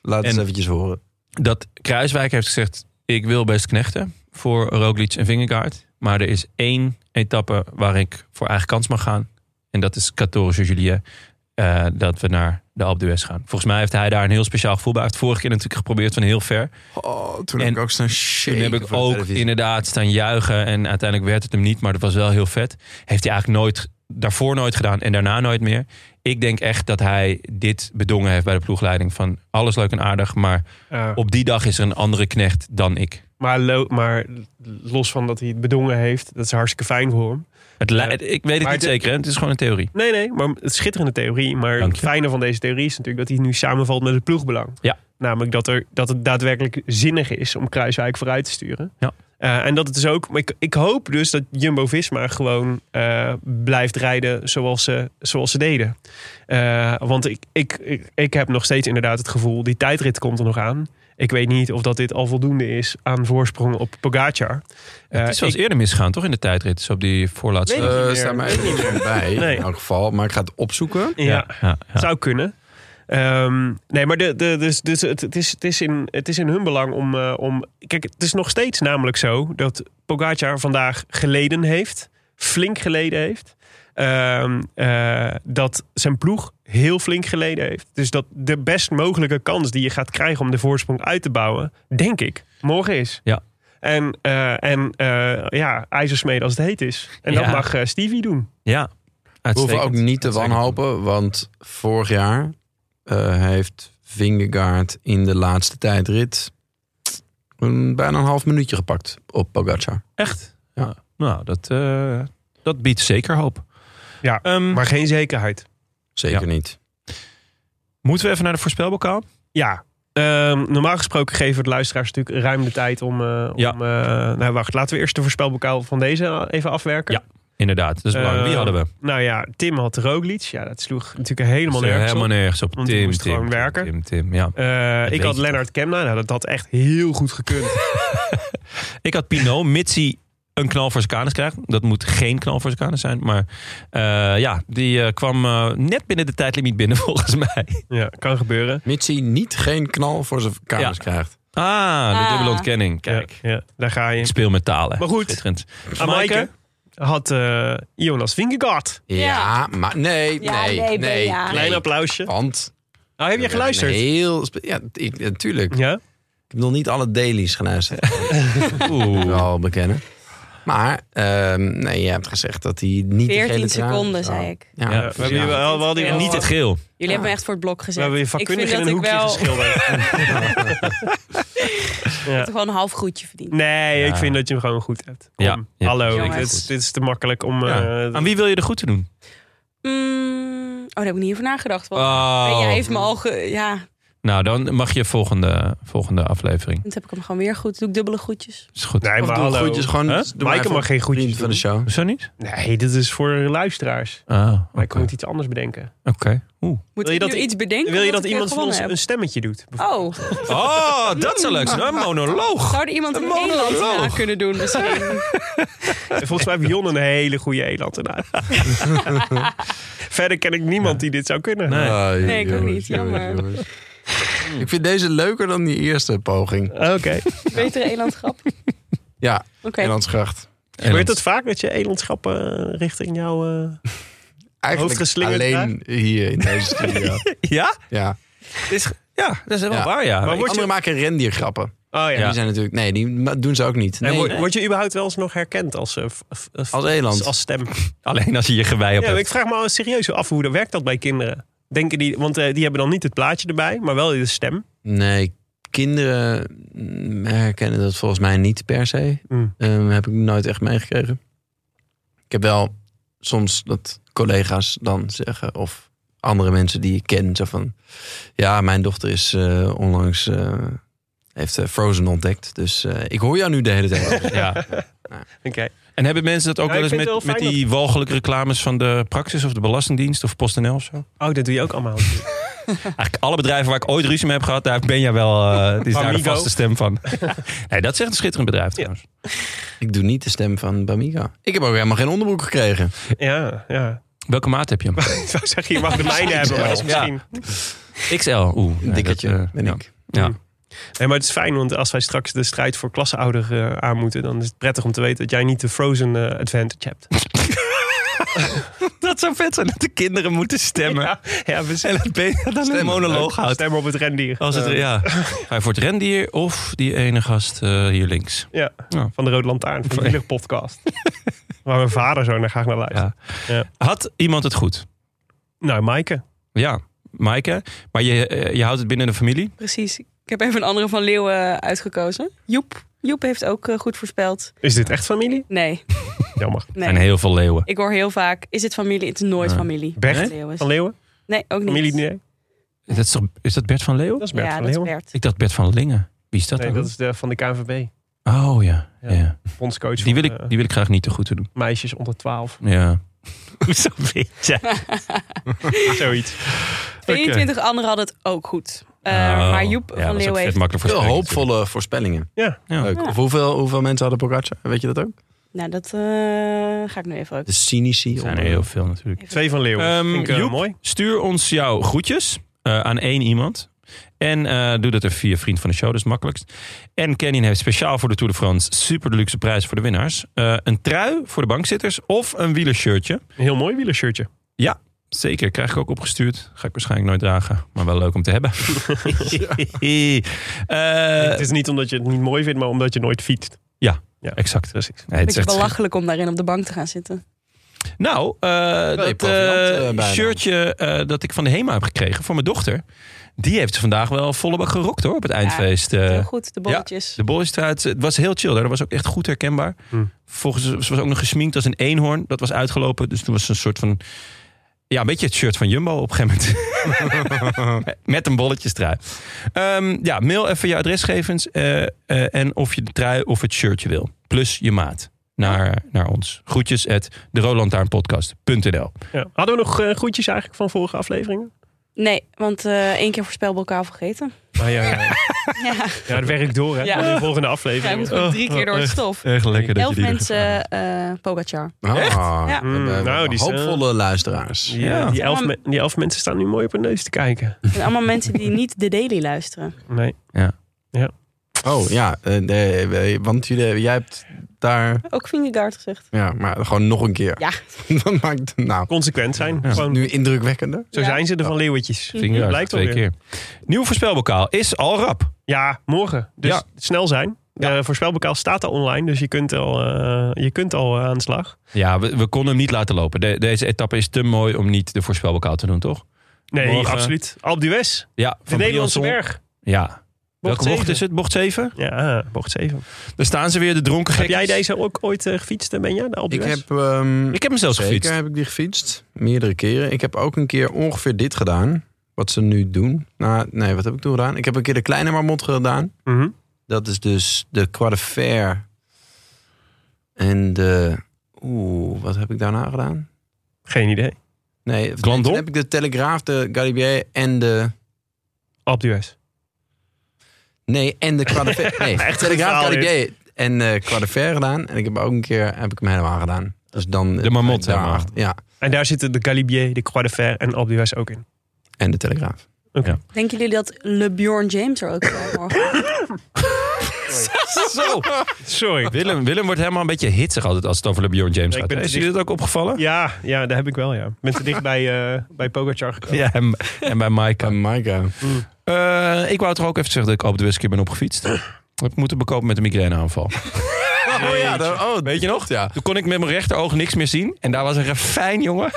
Speaker 6: Laat
Speaker 1: en-
Speaker 6: eens eventjes horen.
Speaker 1: dat Kruiswijk heeft gezegd... ik wil best knechten voor Roglic en Vingegaard. Maar er is één etappe waar ik voor eigen kans mag gaan. En dat is 14 juillet. eh, dat we naar de Alpe d'Huez gaan. Volgens mij heeft hij daar een heel speciaal gevoel bij. Hij heeft vorige keer natuurlijk geprobeerd van heel ver.
Speaker 6: Oh, toen
Speaker 1: heb
Speaker 6: heb
Speaker 1: En
Speaker 6: ik
Speaker 1: ik
Speaker 6: ook zo'n shit.
Speaker 1: Toen heb ik ook inderdaad staan juichen. En uiteindelijk werd het hem niet. Maar dat was wel heel vet. Heeft hij eigenlijk nooit, daarvoor nooit gedaan. En daarna nooit meer. Ik denk echt dat hij dit bedongen heeft bij de ploegleiding. Van alles leuk en aardig. Maar
Speaker 2: Ja.
Speaker 1: op die dag is er een andere knecht dan ik.
Speaker 2: Maar, lo- maar los van dat hij het bedongen heeft, dat is hartstikke fijn voor hem.
Speaker 1: Het li- het- ik weet het
Speaker 2: Maar
Speaker 1: niet
Speaker 2: de-
Speaker 1: zeker, hè? het is gewoon een theorie.
Speaker 2: Nee, nee, maar het is schitterende theorie. Maar
Speaker 1: Dank
Speaker 2: het
Speaker 1: je.
Speaker 2: fijne van deze theorie is natuurlijk dat hij nu samenvalt met het ploegbelang.
Speaker 1: Ja.
Speaker 2: Namelijk dat, er, dat het daadwerkelijk zinnig is om Kruiswijk vooruit te sturen.
Speaker 1: Ja.
Speaker 2: Eh, en dat het dus ook. maar Ik, ik hoop dus dat Jumbo Visma gewoon eh, blijft rijden zoals ze, zoals ze deden. Eh, want ik, ik, ik, ik heb nog steeds inderdaad het gevoel, die tijdrit komt er nog aan. Ik weet niet of dat dit al voldoende is aan voorsprong op Pogacar. Eh,
Speaker 1: het is wel eens
Speaker 2: ik-
Speaker 1: eerder misgaan, toch? In de tijdrit, dus op die voorlaatste.
Speaker 2: Weet ik niet meer.
Speaker 6: staat Eh, mij even bij,
Speaker 2: Nee.
Speaker 6: in elk geval. Maar ik ga het opzoeken.
Speaker 2: ja.
Speaker 1: ja, ja.
Speaker 2: Zou kunnen. Ehm, nee, maar de, de, dus, dus het, het, is, het, is in, het is in hun belang om, eh, om... Kijk, het is nog steeds namelijk zo dat Pogacar vandaag geleden heeft. Flink geleden heeft. Ehm, eh, dat zijn ploeg heel flink geleden heeft. Dus dat de best mogelijke kans die je gaat krijgen om de voorsprong uit te bouwen... denk ik, morgen is.
Speaker 1: Ja.
Speaker 2: En, eh, en eh, ja, ijzersmeden als het heet is. En dat
Speaker 1: Ja.
Speaker 2: mag eh, Stevie doen.
Speaker 1: Ja,
Speaker 6: We hoeven ook niet te wanhopen, want vorig jaar eh, heeft Vingegaard in de laatste tijdrit een, bijna een half minuutje gepakt op Pogacar.
Speaker 1: Echt?
Speaker 6: Ja.
Speaker 1: Nou, dat, eh, dat biedt zeker hoop.
Speaker 2: Ja,
Speaker 1: Ehm,
Speaker 2: Maar geen zekerheid.
Speaker 6: Zeker
Speaker 1: Ja.
Speaker 6: niet.
Speaker 1: Moeten we even naar de voorspelbokaal?
Speaker 2: Ja. Ehm, normaal gesproken geven we de luisteraars natuurlijk ruim de tijd om... eh,
Speaker 1: Ja.
Speaker 2: om eh, nou, wacht. Laten we eerst de voorspelbokaal van deze even afwerken.
Speaker 1: Ja. Inderdaad, dat is belangrijk. Wie
Speaker 2: Eh,
Speaker 1: hadden we?
Speaker 2: Nou ja, Tim had Roglic. Ja, dat sloeg natuurlijk helemaal
Speaker 1: Dus, eh,
Speaker 2: nergens
Speaker 1: helemaal
Speaker 2: op.
Speaker 1: nergens op.
Speaker 2: Want die
Speaker 1: Tim,
Speaker 2: moest
Speaker 1: Tim,
Speaker 2: gewoon
Speaker 1: Tim,
Speaker 2: werken.
Speaker 1: Tim, Tim, ja.
Speaker 2: Eh,
Speaker 1: weet
Speaker 2: ik had
Speaker 1: je
Speaker 2: Lennart Kemna. Nou, dat had echt heel goed gekund.
Speaker 1: Ik had Pinot, mits hij een knal voor zijn kanus krijgt. Dat moet geen knal voor zijn kanus zijn. Maar eh, ja, die eh, kwam eh, net binnen de tijdlimiet binnen, volgens mij.
Speaker 2: ja, kan gebeuren.
Speaker 6: Mitsi niet geen knal voor zijn kamers
Speaker 1: Ja.
Speaker 6: krijgt.
Speaker 1: Ah, de
Speaker 3: Ah.
Speaker 1: dubbele ontkenning. Kijk,
Speaker 2: Ja, ja, daar ga je.
Speaker 1: ik speel met talen.
Speaker 2: Maar goed.
Speaker 1: Schitterend.
Speaker 2: Ah, Maaike
Speaker 1: Maaike?
Speaker 2: had eh, Jonas Vingegaard.
Speaker 6: Ja,
Speaker 3: Ja.
Speaker 6: maar nee,
Speaker 3: Ja,
Speaker 6: nee,
Speaker 3: nee,
Speaker 6: nee.
Speaker 3: Ben, ja.
Speaker 6: nee.
Speaker 2: Klein applausje.
Speaker 6: Want...
Speaker 2: Oh, heb je geluisterd?
Speaker 6: Heel... spe- Ja, ik, natuurlijk. Ik
Speaker 2: Ja?
Speaker 6: heb nog niet alle dailies geluisterd. Oeh. Wel bekennen. Maar, ehm, nee, je hebt gezegd dat hij niet... de gele
Speaker 3: 14
Speaker 6: trui-
Speaker 3: seconden,
Speaker 6: zou-
Speaker 3: zei ik.
Speaker 6: Ja,
Speaker 1: Ja,
Speaker 2: we hebben hier wel, wel die,
Speaker 3: Ja.
Speaker 1: En niet het geel.
Speaker 3: Jullie hebben me echt voor het blok gezet.
Speaker 2: We hebben je
Speaker 3: ik vind
Speaker 2: vakkundig in
Speaker 3: dat
Speaker 2: een
Speaker 3: ik
Speaker 2: hoekje
Speaker 3: wel...
Speaker 2: geschilderd. Ja.
Speaker 3: Gewoon een half goedje verdiend.
Speaker 2: Nee,
Speaker 1: Ja.
Speaker 2: ik vind dat je hem gewoon goed hebt. Kom,
Speaker 1: Ja, ja,
Speaker 2: Hallo,
Speaker 3: precies.
Speaker 2: dit is, dit is te makkelijk om...
Speaker 1: Ja.
Speaker 2: eh,
Speaker 1: Aan wie wil je de goed te doen?
Speaker 3: Mm, oh, daar heb ik niet over nagedacht. Want
Speaker 1: Oh.
Speaker 3: jij heeft me al... ge- ja,
Speaker 1: Nou, dan mag je volgende, volgende aflevering.
Speaker 3: dan heb ik hem gewoon weer goed. Doe ik dubbele goedjes.
Speaker 1: Is goed.
Speaker 2: Nee,
Speaker 6: Of
Speaker 2: maar
Speaker 6: doe
Speaker 2: hallo.
Speaker 6: groetjes gewoon.
Speaker 1: Huh?
Speaker 6: doe maar
Speaker 2: Maaike
Speaker 6: even
Speaker 2: mag geen groetjes
Speaker 6: vriend van de
Speaker 2: doen.
Speaker 6: show.
Speaker 1: Zo niet?
Speaker 2: Nee, dit is voor luisteraars.
Speaker 1: Ah,
Speaker 2: Maar ik
Speaker 1: oké.
Speaker 2: moet iets anders bedenken.
Speaker 1: Oké. Oeh.
Speaker 3: Moet
Speaker 2: Wil je
Speaker 3: ik
Speaker 2: dat
Speaker 3: nu
Speaker 2: i-
Speaker 3: iets bedenken?
Speaker 2: Wil je
Speaker 3: omdat
Speaker 2: dat
Speaker 3: ik weer
Speaker 2: iemand van ons
Speaker 3: gewonnen
Speaker 2: een stemmetje doet?
Speaker 3: heb? Oh,
Speaker 1: Oh, dat zou leuk zijn. Een monoloog.
Speaker 3: zou er iemand een
Speaker 1: monoloog.
Speaker 3: Nederland na kunnen doen misschien?
Speaker 2: Volgens mij heeft Jon een hele goede eland ernaar. Verder ken ik niemand die dit zou kunnen.
Speaker 1: Nee.
Speaker 6: Ah,
Speaker 3: Nee, ik ook
Speaker 6: jongens,
Speaker 3: niet.
Speaker 6: jongens,
Speaker 3: Jammer.
Speaker 6: jongens. Ik vind deze leuker dan die eerste poging.
Speaker 2: Oké.
Speaker 3: Betere elandgrap? Oké.
Speaker 6: Ja, Nederlandsgracht.
Speaker 2: Gebeurt het vaak dat je elandschappen richting jou... eh,
Speaker 6: Eigenlijk
Speaker 2: Hoofdgeslingerd
Speaker 6: alleen hier in deze studio.
Speaker 2: Oh
Speaker 1: Ja?
Speaker 6: ja.
Speaker 1: Is, ja, dat is wel
Speaker 6: Ja.
Speaker 1: waar, ja.
Speaker 2: Maar word
Speaker 6: Anderen
Speaker 2: je...
Speaker 6: maken rendiergrappen.
Speaker 2: Oh ja.
Speaker 6: Die zijn natuurlijk... Nee, die ma- doen ze ook niet.
Speaker 2: En
Speaker 6: Nee,
Speaker 2: word, word je überhaupt wel eens nog herkend als, eh, v- v-
Speaker 6: Als eland.
Speaker 2: als stem?
Speaker 1: Alleen als je je gewei op
Speaker 2: Ja, maar ik
Speaker 1: hebt.
Speaker 2: vraag me al serieus af hoe dat werkt dat bij kinderen. Denken die, want eh, die hebben dan niet het plaatje erbij, maar wel de stem.
Speaker 6: Nee, kinderen mm, herkennen dat volgens mij niet per se.
Speaker 2: Mm.
Speaker 6: Ehm, heb ik nooit echt meegekregen. Ik heb wel soms dat collega's dan zeggen... of andere mensen die ik ken, zo van... ja, mijn dochter is eh, onlangs... eh, heeft eh, Frozen ontdekt. Dus eh, ik hoor jou nu de hele tijd.
Speaker 1: Ja.
Speaker 2: Oké.
Speaker 1: En hebben mensen dat ook
Speaker 2: Ja,
Speaker 1: wel
Speaker 2: ik
Speaker 1: eens
Speaker 2: vind
Speaker 1: met,
Speaker 2: het wel
Speaker 1: met
Speaker 2: fijn
Speaker 1: die walgelijke reclames van de Praxis of de Belastingdienst of PostNL of zo?
Speaker 2: Oh, dat doe je ook allemaal.
Speaker 1: Eigenlijk alle bedrijven waar ik ooit ruzie mee heb gehad, daar ben jij wel eh, die is daar de
Speaker 2: Amigo.
Speaker 1: vaste stem van. nee, dat is echt een schitterend bedrijf trouwens.
Speaker 6: ik doe niet de stem van Bamiga. Ik heb ook helemaal geen onderbroek gekregen.
Speaker 2: ja, ja.
Speaker 1: Welke maat heb je hem?
Speaker 2: Ik wou zeggen, je mag de mijne hebben, maar dat is
Speaker 1: Ja.
Speaker 2: misschien...
Speaker 1: XL. Oeh,
Speaker 6: Een dikkertje
Speaker 1: dat, eh,
Speaker 6: ben
Speaker 1: ja.
Speaker 6: ik.
Speaker 1: Ja.
Speaker 2: Nee, maar het is fijn, want als wij straks de strijd voor klassenouder eh, aan moeten... dan is het prettig om te weten dat jij niet de Frozen eh, advantage hebt.
Speaker 1: Dat zou vet zijn dat de kinderen moeten stemmen. Dus
Speaker 2: Ja, ja we
Speaker 1: En
Speaker 2: zijn
Speaker 1: dat Bena dan een
Speaker 6: Stemmen.
Speaker 1: monoloog houdt.
Speaker 2: stem op het rendier.
Speaker 1: Als het,
Speaker 2: Eh,
Speaker 1: ja. Ga je voor het rendier of die ene gast eh, hier links?
Speaker 2: ja,
Speaker 1: Ja.
Speaker 2: van de Rode Lantaarn, van de Wieler podcast. Waar mijn vader zo naar graag naar luistert.
Speaker 1: Ja. Had iemand het goed?
Speaker 2: Nou, Maaike.
Speaker 1: Ja, Maaike. Maar je, eh, je houdt het binnen de familie?
Speaker 3: Precies. Ik heb even een andere van Leeuwen uitgekozen. Joep. Joep heeft ook eh, goed voorspeld.
Speaker 2: Is dit echt familie?
Speaker 3: Nee,
Speaker 2: Jammer.
Speaker 3: nee.
Speaker 1: En heel Eh, veel leeuwen.
Speaker 3: Ik hoor heel vaak, is het familie? Het is nooit
Speaker 1: Nee.
Speaker 3: familie.
Speaker 2: Bert
Speaker 3: Leeuwen.
Speaker 2: van Leeuwen?
Speaker 3: Nee, ook niet.
Speaker 2: Familie nee.
Speaker 1: Dat is, toch- is dat Bert van Leeuwen?
Speaker 2: Dat is Bert
Speaker 3: Ja,
Speaker 2: van
Speaker 3: dat is
Speaker 2: Leeuwen.
Speaker 3: Bert.
Speaker 1: Ik dacht Bert van Lingen. Wie is dat
Speaker 2: Nee,
Speaker 1: dan?
Speaker 2: dat is de, van de KNVB.
Speaker 1: Oh ja. ja.
Speaker 2: Ja. Bondscoach
Speaker 1: Die, wil
Speaker 2: van,
Speaker 1: ik,
Speaker 2: eh,
Speaker 1: die wil ik graag niet te goed te doen.
Speaker 2: meisjes onder 12.
Speaker 1: Ja. Hoezo weet jij?
Speaker 2: Zoiets.
Speaker 3: 22 anderen hadden het ook goed. Eh,
Speaker 1: Oh,
Speaker 3: maar Joep
Speaker 1: ja, dat
Speaker 3: van
Speaker 1: is ook
Speaker 3: Leeuwen
Speaker 1: vet
Speaker 3: heeft...
Speaker 1: makkelijk voor
Speaker 6: Veel
Speaker 1: spreken
Speaker 6: hoopvolle voorspellingen.
Speaker 1: Ja.
Speaker 6: Leuk. Of hoeveel, hoeveel mensen hadden Pogacar? Weet je dat ook?
Speaker 3: Nou, dat eh, ga ik nu even...
Speaker 1: Dus
Speaker 6: De cynici.
Speaker 1: natuurlijk. Er zijn
Speaker 6: onder-
Speaker 1: er heel veel natuurlijk.
Speaker 2: Twee van Leeuwen.
Speaker 1: Ehm,
Speaker 2: Vind ik, eh,
Speaker 1: Joep?
Speaker 2: mooi.
Speaker 1: Stuur ons jouw groetjes eh, aan één iemand. En eh, doe dat er via Vriend van de Show, dat is het makkelijkst. En Canyon heeft speciaal voor de Tour de France super deluxe prijs voor de winnaars. Eh, een trui voor de bankzitters of een wielershirtje.
Speaker 2: Een heel mooi wielershirtje.
Speaker 1: Zeker, krijg ik ook opgestuurd. Ga ik waarschijnlijk nooit dragen, maar wel leuk om te hebben. Eh,
Speaker 2: het is niet omdat je het niet mooi vindt, maar omdat je nooit fietst.
Speaker 1: exact.
Speaker 2: Precies.
Speaker 1: Nee, het is
Speaker 3: Beetje
Speaker 1: echt
Speaker 3: belachelijk om daarin op de bank te gaan zitten.
Speaker 1: Nou, eh,
Speaker 6: je
Speaker 1: dat
Speaker 6: proviant, eh,
Speaker 1: eh,
Speaker 6: bijna.
Speaker 1: shirtje eh, dat ik van de HEMA heb gekregen voor mijn dochter. Die heeft ze vandaag wel volle bak gerokt hoor, op het eindfeest. eh.
Speaker 3: Heel goed, de bolletjes.
Speaker 1: de bollenstraat, het was heel chill. daar. Dat was ook echt goed herkenbaar.
Speaker 2: Hmm.
Speaker 1: Volgens, ze was ook nog gesminkt als een eenhoorn. Dat was uitgelopen. Dus toen was ze een soort van... Ja, een beetje het shirt van Jumbo op een gegeven moment. Met een bolletjestrui. Ehm ja, mail even je adresgevens. eh, eh, en of je de trui of het shirtje wil. Plus je maat. Naar, naar ons. Groetjes at derolantaarnpodcast.nl
Speaker 2: Ja. Hadden we nog eh, groetjes eigenlijk van vorige afleveringen?
Speaker 3: Nee, want eh, één keer voorspelbokaal vergeten.
Speaker 2: Ah, ja, ja.
Speaker 3: Ja,
Speaker 2: ja, het werkt door hè.
Speaker 3: Ja.
Speaker 2: In de volgende
Speaker 3: hij
Speaker 2: aflevering.
Speaker 3: moet gewoon
Speaker 1: Oh,
Speaker 3: drie keer door het stof.
Speaker 1: Echt lekker
Speaker 3: Elf mensen eh Pogacar.
Speaker 6: Ah,
Speaker 3: Ja.
Speaker 6: we hebben
Speaker 2: Nou, die is, eh,
Speaker 6: hoopvolle luisteraars.
Speaker 2: Die, eh,
Speaker 1: Ja.
Speaker 2: die, elf me- die elf mensen staan nu mooi op hun neus te kijken.
Speaker 3: Het zijn allemaal mensen die niet de daily luisteren.
Speaker 2: Nee.
Speaker 6: Oh ja, eh, nee, we- want jullie, jij hebt daar.
Speaker 3: Ook Vingegaard gezegd.
Speaker 6: Ja, maar gewoon nog een keer.
Speaker 3: Ja.
Speaker 6: Dat maakt. Nou,
Speaker 2: Consequent zijn. Gewoon,
Speaker 6: nu indrukwekkender.
Speaker 2: zo
Speaker 3: Ja.
Speaker 2: zijn ze er van leeuwtjes. Blijkt
Speaker 1: twee
Speaker 2: alweer.
Speaker 1: keer. Nieuw voorspelbokaal is al rap.
Speaker 2: Ja, morgen. Dus
Speaker 1: Ja.
Speaker 2: snel zijn. De voorspelbokaal staat al online, dus je kunt al, eh, je kunt al eh, aan de slag.
Speaker 1: Ja, we, we konden hem niet laten lopen. De- deze etappe is te mooi om niet de voorspelbokaal te doen, toch?
Speaker 2: Nee,
Speaker 1: Morgen.
Speaker 2: absoluut. Alp d'Huez,
Speaker 1: Ja,
Speaker 2: de Nederlandse
Speaker 1: Briançon.
Speaker 2: berg.
Speaker 1: Ja, Welke bocht
Speaker 2: zeven.
Speaker 1: is het? Bocht 7?
Speaker 2: Ja, bocht 7.
Speaker 1: Daar staan ze weer, de dronken
Speaker 2: Heb
Speaker 1: gekken.
Speaker 2: jij deze ook ooit eh, gefietst, ben jij? De Alpe
Speaker 6: Ik
Speaker 2: d'Huez?
Speaker 6: heb, ehm,
Speaker 1: Ik heb hem zelfs
Speaker 6: zeker
Speaker 1: gefietst.
Speaker 6: heb ik die gefietst. Meerdere keren. Ik heb ook een keer ongeveer dit gedaan. Wat ze nu doen. Nou, nee, wat heb ik toen gedaan? Ik heb een keer de kleine marmot gedaan.
Speaker 2: Mhm.
Speaker 6: Dat is dus de quadrifair. En de... Oeh, wat heb ik daarna gedaan?
Speaker 2: Geen idee.
Speaker 6: Nee,
Speaker 1: Glandon?
Speaker 6: toen heb ik de Telegraaf, de Galibier en de...
Speaker 2: Alpe d'Huez.
Speaker 6: Nee, en de Quadrifair. Nee,
Speaker 2: Echt
Speaker 6: Telegraaf,
Speaker 2: gefaald,
Speaker 6: Galibier en eh Quadrifair gedaan. En ik heb ook een keer heb ik hem helemaal gedaan. Dus dan
Speaker 1: De marmot
Speaker 6: daar
Speaker 1: helemaal.
Speaker 6: achter- Ja,
Speaker 2: En daar zitten de Galibier, de Croix de Fer en Alpe d'Huez ook in.
Speaker 6: en de Telegraaf.
Speaker 3: Denken jullie dat LeBjorn James er ook bij morgen?
Speaker 1: Zo.
Speaker 2: Sorry.
Speaker 1: Willem, Willem wordt helemaal een beetje hitsig altijd als het over LeBron James
Speaker 2: ik
Speaker 1: gaat.
Speaker 2: ben
Speaker 1: hè?
Speaker 2: te
Speaker 1: Is jullie dat ook opgevallen?
Speaker 2: Ja, ja, daar heb ik wel, ja. Mensen dicht bij, eh bij Pogacar gekomen.
Speaker 1: Ja, en, en bij Mike.
Speaker 6: Oh my god.
Speaker 1: Eh, ik wou toch ook even zeggen dat ik op de Westkeer ben opgefietst. Heb ik moeten bekopen met een migraineaanval.
Speaker 6: Oh ja, dat- oh,
Speaker 1: Weet je nog?
Speaker 6: Ja.
Speaker 1: Toen kon ik met mijn rechteroog niks meer zien. En daar was een refijn, jongen.